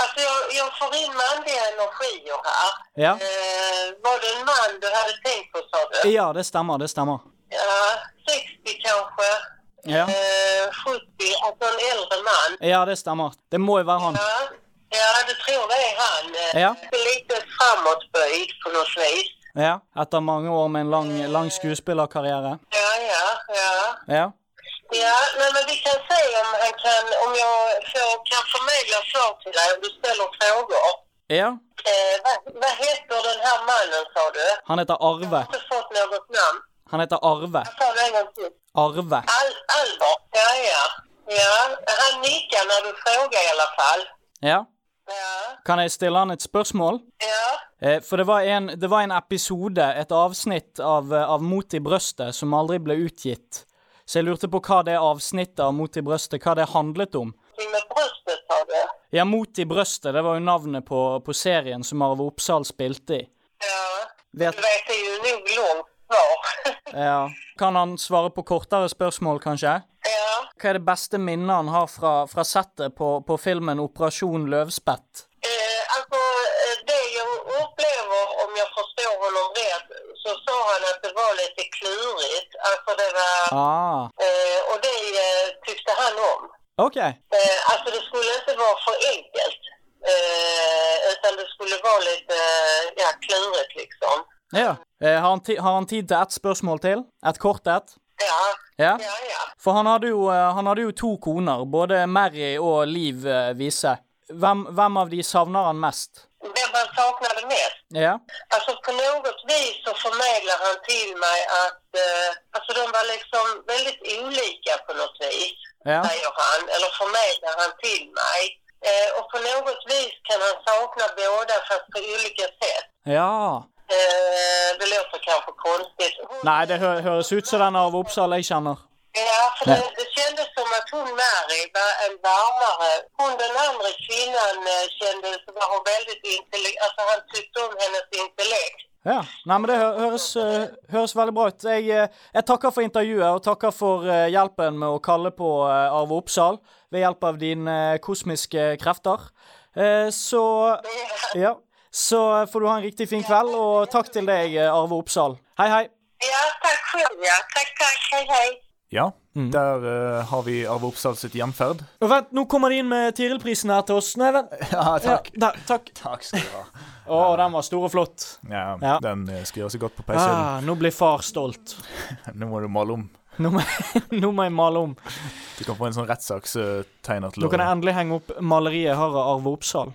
E: Alltså jag, jag får in manliga energier här.
A: Ja.
E: Eh, var det en man du hade tänkt på sa du?
A: Ja, det stemmer. Det stemmer.
E: Ja, 60 kanske.
A: Ja.
E: Eh, 70, alltså en äldre man.
A: Ja, det stemmer. Det må jo være han.
E: Ja, ja du tror det är han. Eh,
A: Ja.
E: Lite framåtböjd på något vis.
A: Ja. Etter mange år med en lang, lang skuespillerkarriere.
E: Ja, ja, ja.
A: Ja.
E: Ja, nej, men vi kan se om, han kan, om jag får, kan förmedla svar till dig om du ställer frågor.
A: ja.
E: Eh, vad, vad heter den här mannen sa du?
A: Han heter
E: Jag har
A: Arve.
E: inte fått något namn.
A: Han heter Arve.
E: Jag sa det en gång till.
A: Arve.
E: Al Albert, ja ja. Ja, han nickar när du frågar i alla fall.
A: Ja.
E: Ja.
A: Kan jeg stille han et spørsmål?
E: Ja.
A: Eh, For det var, en, det var en episode, et avsnitt av, eh, av Mot i brøstet, som aldri ble utgitt. Så jeg lurte på hva det avsnittet av Mot i brøstet hva det handlet om.
E: Ting med bröstet sa du?
A: Ja, Mot i brøstet, det var jo navnet på, på serien som Arve Oppsal spilte i.
E: Ja.
A: Vet,
E: Du vet, det är ju nog långt svar.
A: ja. Kan han svare på kortere spørsmål, kanskje?
E: ja.
A: Hva er det beste minnet han har fra, fra settet på, på filmen Operasjon Løvspett?
E: Eh, alltså, eh, det jag upplever, om jag förstår honom rätt, så sa han att det var lite klurigt. Alltså det var...
A: Ah,
E: Eh, och det eh, tyckte han om.
A: OK.
E: Eh, alltså det skulle inte vara för enkelt. Eh, utan det skulle vara lite, eh, ja, klurigt liksom.
A: Ja. Eh, har, han ti har han tid til ett spørsmål til? Et kort et?
E: Ja,
A: Ja.
E: ja, ja.
A: For han hadde, jo, eh, han hadde jo to koner, både Mary og Liv eh, Vise. Hvem, hvem av de savner han mest?
E: Vem han saknade mest?
A: Ja.
E: Alltså på något vis så förmedlar han till mig att, eh, alltså de var liksom väldigt olika på något vis,
A: ja.
E: säger han, eller förmedlar han till mig. Eh, og på något vis kan han sakna båda fast på olika sätt.
A: ja.
E: Eh, det låter kanske konstigt. Hon,
A: Nei, det hø høres ut som den Arve Oppsal jeg kjenner.
E: Ja, för det, det kändes som att hon Mary var en varmare. Hon den andra kvinnan eh, kändes, var hon väldigt intellekt, alltså han tyckte om hennes intellekt.
A: Ja. Nei, men det hø høres, eh, høres veldig bra ut. Jeg, eh, jeg takker for intervjuet, og takker for eh, hjelpen med å kalle på eh, Arve Oppsal ved hjelp av dine eh, kosmiske krefter. Eh, så Ja. Så eh, får du ha en riktig fin kveld, og takk til deg, eh, Arve Oppsal. Hei, hei.
E: Ja, tack själv ja. Tack, tack. Hej, hej.
B: Ja,
A: Mm.
B: der eh, har vi Arve Oppsal sitt hjemferd.
A: Og vent, nå kommer de inn med Tiril-prisen her til oss. Nei, vent.
B: Ja,
A: Ja, der, Eh, takk.
B: Takk skal du ha.
A: Å, den var stor og flott.
B: Ja,
A: Ja.
B: Den eh, skal gjøre seg godt på PC-en.
A: Ah, nå blir far stolt.
B: Nå må du male om.
A: Nå må, nå må jeg male om.
B: Du kan få en sånn rettssakstegner til
A: Nå kan jeg endelig henge opp maleriet jeg har av Arve Oppsal.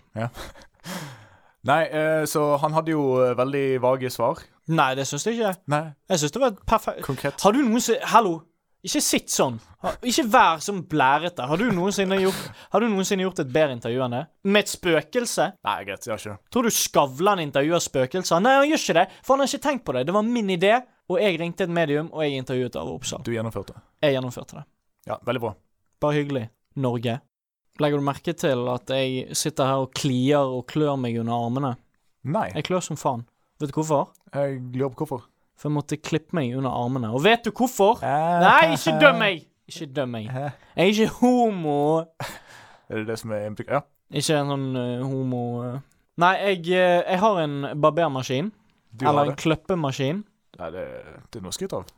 B: Nei, eh, så han hadde jo eh, veldig vage svar.
A: Nei, det syns jeg ikke.
B: Nei,
A: Jeg syns det var et perfekt
B: konkret.
A: Har du noensinne Hallo! Ikke sitt sånn. Ha- Ikke vær sånn blærete. Har du noensinne gjort, har du noensinne gjort et bedre intervju enn det? Med et spøkelse?
B: Nei, greit, jeg har ikke det.
A: Tror du Skavlan intervjuer spøkelser? Nei, han gjør ikke det, for han har ikke tenkt på det. Det var min idé, og jeg ringte et medium, og jeg intervjuet Arve Oppsal.
B: Du gjennomførte.
A: Jeg gjennomførte det.
B: Ja, veldig bra.
A: Bare hyggelig. Norge. Legger du merke til at jeg sitter her og klier og klør meg under armene?
B: Nei,
A: Jeg klør som faen. Vet du hvorfor?
B: jeg lurer på hvorfor.
A: For jeg måtte klippe meg under armene. Og vet du hvorfor?
B: Eh,
A: Nei, ikke døm meg! Ikke døm meg. Jeg er ikke homo.
B: Er det det som er implik- Ja.
A: Ikke en sånn eh, homo eh. Nei, jeg, eh, jeg har en barbermaskin.
B: Du har
A: Eller en
B: det.
A: kløppemaskin.
B: Nei, det, det er noe å skryte av.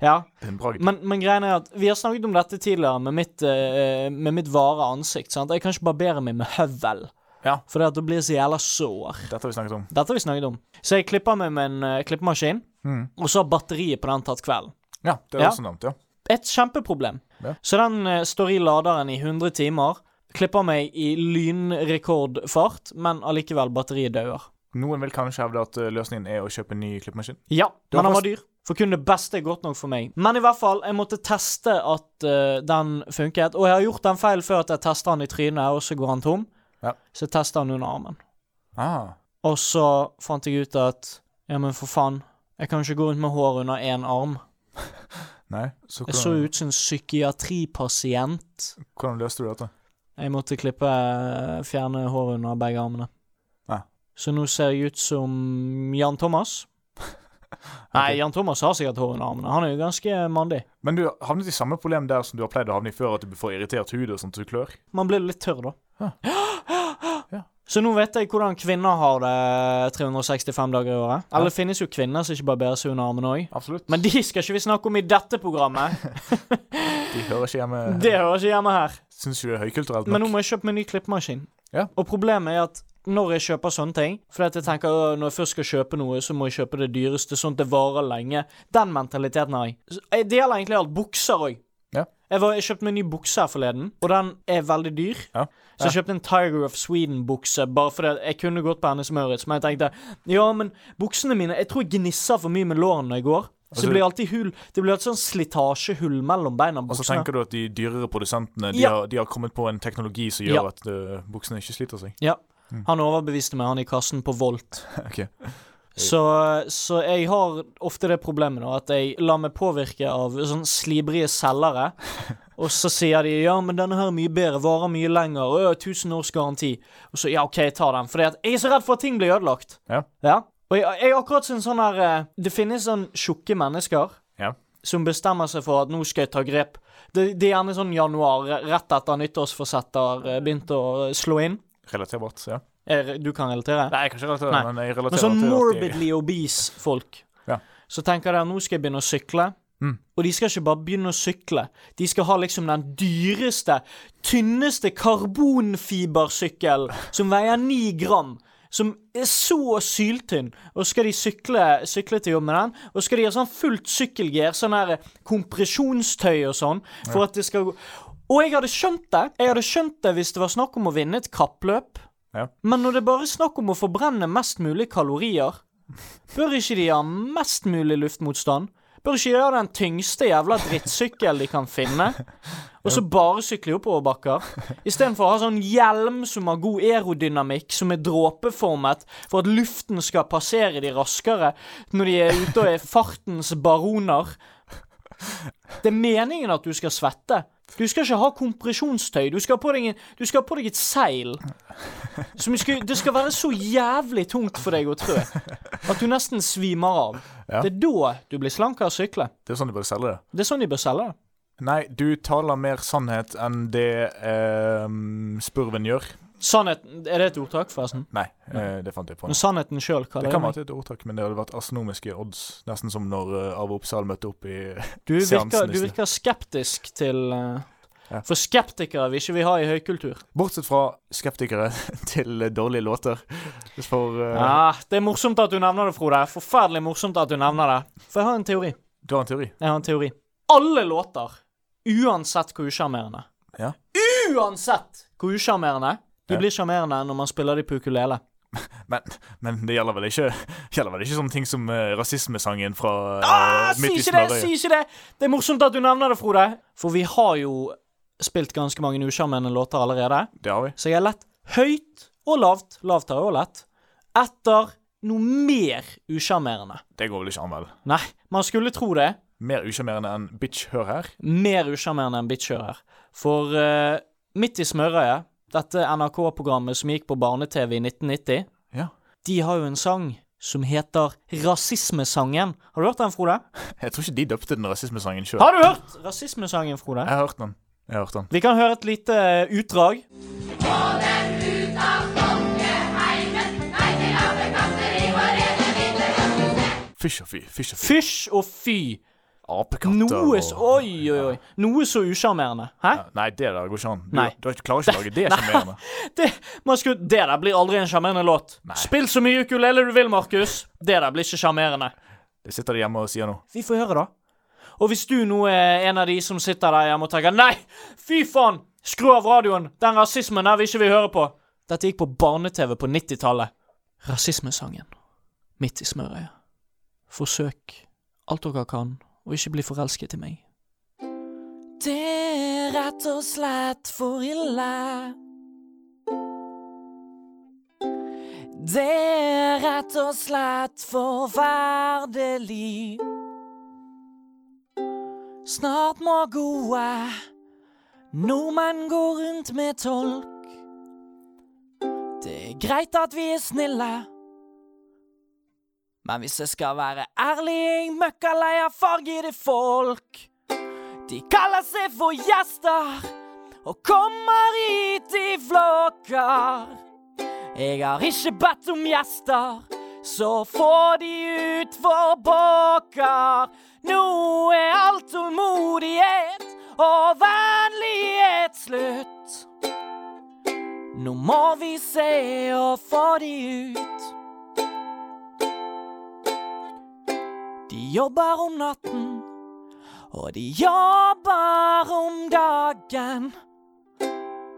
A: Ja.
B: Det er en bragd.
A: Men, men greien er at vi har snakket om dette tidligere med mitt, eh, med mitt vare ansikt. sant? Jeg kan ikke barbere meg med høvel,
B: Ja.
A: for det at da blir jeg så jævla sår.
B: Dette har vi snakket om.
A: Dette har vi snakket om. Så jeg klipper meg med en eh, klippemaskin,
B: Mhm.
A: og så har batteriet på den tatt kvelden.
B: Ja, det er
A: Ja.
B: også nevnt, ja.
A: Et kjempeproblem.
B: Ja.
A: Så den eh, står i laderen i 100 timer, klipper meg i lynrekordfart, men allikevel batteriet dauer.
B: Noen vil kanskje hevde at eh, løsningen er å kjøpe en ny klippemaskin.
A: Ja,
B: Du har
A: men den var
B: fast-
A: dyr. For kun det beste er godt nok for meg. Men i hvert fall, jeg måtte teste at eh, den funket. Og jeg har gjort den feil før at jeg tester den i trynet, og så går han tom.
B: Ja.
A: Så jeg tester den under armen.
B: Ah,
A: Og så fant jeg ut at ja, men for faen, jeg kan ikke gå rundt med hår under én arm.
B: nei. Så
A: Jeg så
B: hvordan,
A: ut som en psykiatripasient.
B: hvordan løste du dette?
A: Jeg måtte klippe eh, fjerne håret under begge armene.
B: Ja.
A: Så nå ser jeg ut som Jan Thomas. Nei, Jan Thomas har sikkert hår under armene. Han er jo ganske mandig.
B: Men du havnet i samme problem der som du har pleid å havne i før, at du får irritert hud og sånt, så du klør.
A: Man blir litt tørr, da.
B: Ja. Ja.
A: Så nå vet jeg hvordan kvinner har det 365 dager i året. Eller det finnes jo kvinner som ikke barberer seg under armene òg.
B: Absolutt.
A: Men de skal ikke vi snakke om i dette programmet.
B: De hører ikke hjemme
A: Det hører ikke hjemme her.
B: Syns ikke det er høykulturelt
A: Men nå
B: nok.
A: må jeg kjøpe meg ny klippemaskin.
B: Ja.
A: Og problemet er at når jeg kjøper sånne ting Fordi at jeg tenker «Åh, når jeg først skal kjøpe noe, så må jeg kjøpe det dyreste, sånn at det varer lenge. Den mentaliteten har jeg. Så Jeg deler egentlig alt. Bukser òg.
B: Ja.
A: Jeg, var- jeg kjøpte meg en ny bukse her forleden, og den er veldig dyr.
B: Ja.
A: Så jeg kjøpte en Tiger of Sweden-bukse bare fordi at jeg kunne gått på Hennes Maurits, men jeg tenkte ja, men buksene mine Jeg tror jeg gnisser for mye med lårene når jeg går, Så det blir alltid hull Det blir alltid sånn slitasjehull mellom beina og
B: Og så
A: buksene.
B: tenker du at de dyrere produsentene de,
A: Ja.
B: har, de har kommet på en teknologi som gjør
A: Ja.
B: at eh, buksene ikke sliter seg.
A: Ja. Han overbeviste meg, han i kassen på Volt.
B: Ok.
A: Så, så jeg har ofte det problemet nå, at jeg lar meg påvirke av sånn slibrige selgere. Og så sier de ja, men denne her er mye bedre, varer mye lenger, ø, 1000 års garanti. Og så ja, OK, jeg tar den. For jeg er så redd for at ting blir ødelagt.
B: Ja.
A: Og jeg, jeg er akkurat sånn sånn her eh, Det finnes sånn tjukke mennesker
B: Ja.
A: som bestemmer seg for at nå skal jeg ta grep. Det, det er gjerne sånn januar, rett etter nyttårsforsetter eh, begynte å slå inn.
B: Relaterbart, ja.
A: Er- Du kan relatere?
B: Nei, kanskje relaterer,
A: Nei.
B: men jeg
A: Men
B: relaterer
A: sånn
B: til at
A: morbidly obese folk.
B: Ja.
A: Så tenker de at nå skal jeg begynne å sykle.
B: Mm.
A: Og de skal ikke bare begynne å sykle. De skal ha liksom den dyreste, tynneste karbonfibersykkelen som veier ni gram. Som er så syltynn. Og så skal de sykle, sykle til jobb med den. Og så skal de ha sånn fullt sykkelgear, sånn her kompresjonstøy og sånn. For at det skal gå Og jeg hadde skjønt det. Jeg hadde skjønt det hvis det var snakk om å vinne et kappløp. Men når det bare er snakk om å forbrenne mest mulig kalorier, bør ikke de ha mest mulig luftmotstand? Bør ikke de ha den tyngste jævla drittsykkelen de kan finne? Og så bare sykle i oppoverbakker? Istedenfor å ha sånn hjelm som har god aerodynamikk, som er dråpeformet, for at luften skal passere de raskere når de er ute og er fartens baroner. Det er meningen at du skal svette. Du skal ikke ha kompresjonstøy. Du skal ha på deg, en, du skal ha på deg et seil. Som du skal, det skal være så jævlig tungt for deg å trø at du nesten svimer av.
B: Ja.
A: Det er da du blir slank av å sykle.
B: det er sånn de bør selge det.
A: Det er sånn de bør selge det.
B: Nei, du taler mer sannhet enn det eh, spurven gjør.
A: Sannheten Er det et ordtak, forresten?
B: Nei, eh, det fant jeg på. nå.
A: Men sannheten sjøl, hva
B: Det
A: det
B: kan
A: er?
B: være et ordtak, men det hadde vært astronomiske odds. Nesten som når eh, Arve Oppsal møtte opp i
A: Du virker,
B: seansen i
A: du
B: sted.
A: virker skeptisk til eh,
B: Ja.
A: For skeptikere vil ikke vi ha i høykultur.
B: Bortsett fra skeptikere til eh, dårlige låter. For eh,
A: Ja, Ah, det er morsomt at du nevner det, Frode. Forferdelig morsomt at du nevner det. For jeg har en teori.
B: Du har en teori?
A: Jeg har en teori. Alle låter, uansett hvor usjarmerende
B: Ja.
A: Uansett hvor usjarmerende! De
B: Ja.
A: blir sjarmerende når man spiller de på ukulele.
B: Men, men det gjelder vel ikke Gjelder vel ikke sånne ting som eh, rasismesangen fra eh,
A: Ah, si
B: midt i
A: ikke det!
B: Snarøya?
A: Si ikke det! Det er morsomt at du nevner det, Frode. For vi har jo spilt ganske mange usjarmerende låter allerede.
B: Det har vi.
A: Så jeg har lett høyt og lavt, lavt har jeg også lett, etter noe mer usjarmerende.
B: Det går vel ikke an, vel?
A: Nei, man skulle tro det.
B: Mer usjarmerende enn 'bitch, hør her'?
A: mer usjarmerende enn bitcher her. For eh, midt i smørøyet, dette NRK-programmet som gikk på barne-TV i 1990,
B: Ja.
A: de har jo en sang som heter Rasismesangen. Har du hørt den, Frode?
B: Jeg tror ikke de døpte den rasismesangen sjøl.
A: Har du hørt Rasismesangen, Frode?
B: Jeg har hørt den. Jeg har hørt den.
A: Vi kan høre et lite eh, utdrag.
B: Fysj og fy. Fysj og fy.
A: Fysj og fy!
B: Apekatter
A: Noe så
B: og
A: Oi, oi, oi. Noe så usjarmerende. Hæ?
B: Nei, det der går ikke an. Du,
A: Nei.
B: du klarer ikke å lage det sjarmerende.
A: Det, man skulle, det der blir aldri en sjarmerende låt. Spill så mye ukulele du vil, Markus. Det der blir ikke sjarmerende.
B: Det sitter de hjemme og sier nå.
A: Vi får høre, da. Og hvis du nå er en av de som sitter der hjemme og tenker Nei, fy faen! Skru av radioen! Den rasismen der vi ikke vil høre på! Dette gikk på barne-TV på 90-tallet. Rasismesangen. Midt i smørøyet. Forsøk alt dere kan å ikke bli forelsket i meg. Det er rett og slett for ille. Det er rett og slett forferdelig. Snart må gode nordmenn gå rundt med tolk. Det er greit at vi er snille, men hvis jeg skal være ærlig, jeg møkkalei av fargede folk. De kaller seg for gjester og kommer hit i flokker. Jeg har ikke bedt om gjester, så få de ut for pokker. Nå er all tålmodighet og vennlighet slutt. Nå må vi se å få de ut. De jobber om natten, og de jobber om dagen.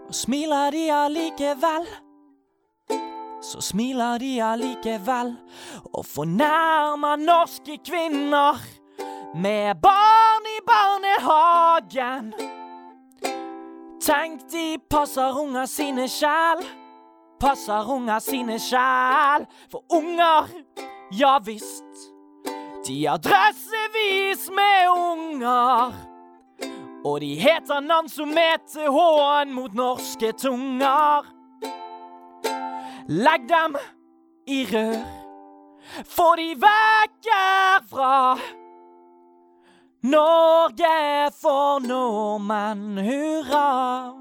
A: Og smiler de allikevel så smiler de allikevel og fornærmer norske kvinner. Med barn i barnehagen. Tenk de passer unger sine sjæl. Passer unger sine sjæl. For unger, ja visst. De har dressevis med unger. Og de heter navn som er til H-en mot norske tunger. Legg dem i rør, få de vekk herfra. Norge for nordmenn, hurra.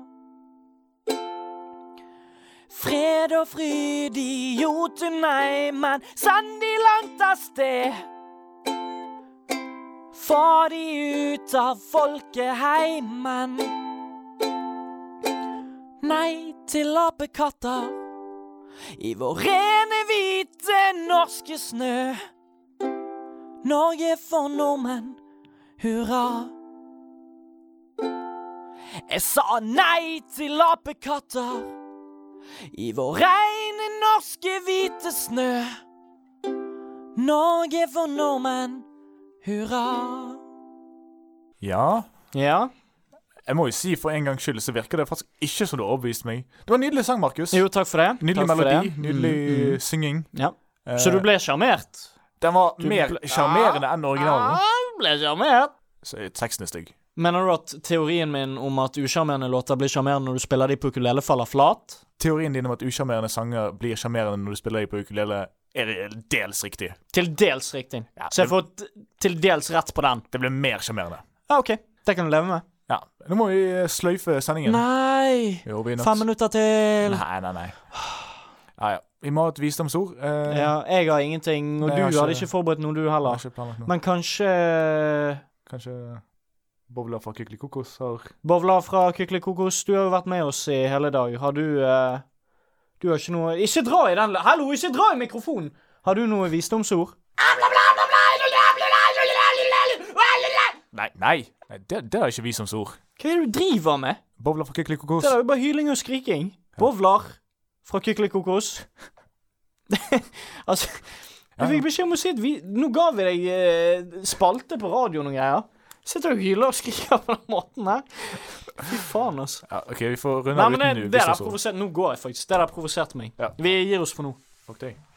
A: Fred og fryd, idioter, nei, men send de langt av sted. Få de ut av folkeheimen. Nei til apekatter i vår rene, hvite norske snø. Norge for nordmenn, hurra. Jeg sa nei til apekatter i vår rene, norske, hvite snø. Norge for nordmenn, hurra.
G: Ja.
A: Ja?
G: Jeg må jo si for en gangs skyld så virker det faktisk ikke som du har overbevist meg. Det var en nydelig sang, Markus.
A: Jo, takk for det.
G: Nydelig
A: takk for
G: melodi,
A: det. Mm,
G: nydelig synging.
A: Ja.
G: Eh,
A: Så du ble sjarmert?
G: Den var
A: du Ah.
G: mer
A: ble-
G: sjarmerende enn originalen.
A: du ble sjarmert.
G: Så er Teksten er stygg.
A: Mener du at teorien min om at usjarmerende låter blir sjarmerende når du spiller de på ukulele, faller flat?
G: Teorien din om at usjarmerende sanger blir sjarmerende når du spiller dem på ukulele, er dels riktig.
A: Til dels riktig.
G: Ja,
A: Så jeg
G: men-
A: får t- til dels rett på den.
G: Det ble mer sjarmerende.
A: Ja, OK. Det kan du leve med.
G: Ja. Nå må vi eh, sløyfe sendingen.
A: Nei!
G: Jo, vi er nødt.
A: Fem minutter til.
G: Nei, nei, nei. Ja, ja. Vi må ha et visdomsord. Eh,
A: Ja, jeg har ingenting, og
G: Nei,
A: du
G: jeg har ikke-
A: hadde ikke forberedt noe, du
G: jeg har
A: heller.
G: ikke planlagt noe.
A: Men kanskje eh,
G: Kanskje bobler fra Kykelikokos har
A: Bovla fra Kykelikokos, du har jo vært med oss i hele dag. Har du eh, Du har ikke noe Ikke dra i den Hallo, ikke dra i mikrofonen! Har du noe visdomsord?
G: Nei, nei! nei det, det er ikke visdomsord.
A: Hva er det du driver med?
G: Bobler fra Kykelikokos.
A: Det er jo bare hyling og skriking. Bovlar fra Kykelikokos. altså Jeg fikk beskjed om å si at vi Nå ga vi deg eh, spalte på radioen og greier. Sitter du og hyler og skriker på den måten her? Fy faen, altså.
G: Ja, OK, vi får runde
A: Nei,
G: av
A: men det,
G: uten
A: det der
G: visdomsord.
A: provoserte Nå går jeg faktisk. Det der provoserte meg.
G: Ja.
A: Vi gir oss for nå.
G: Fuck deg.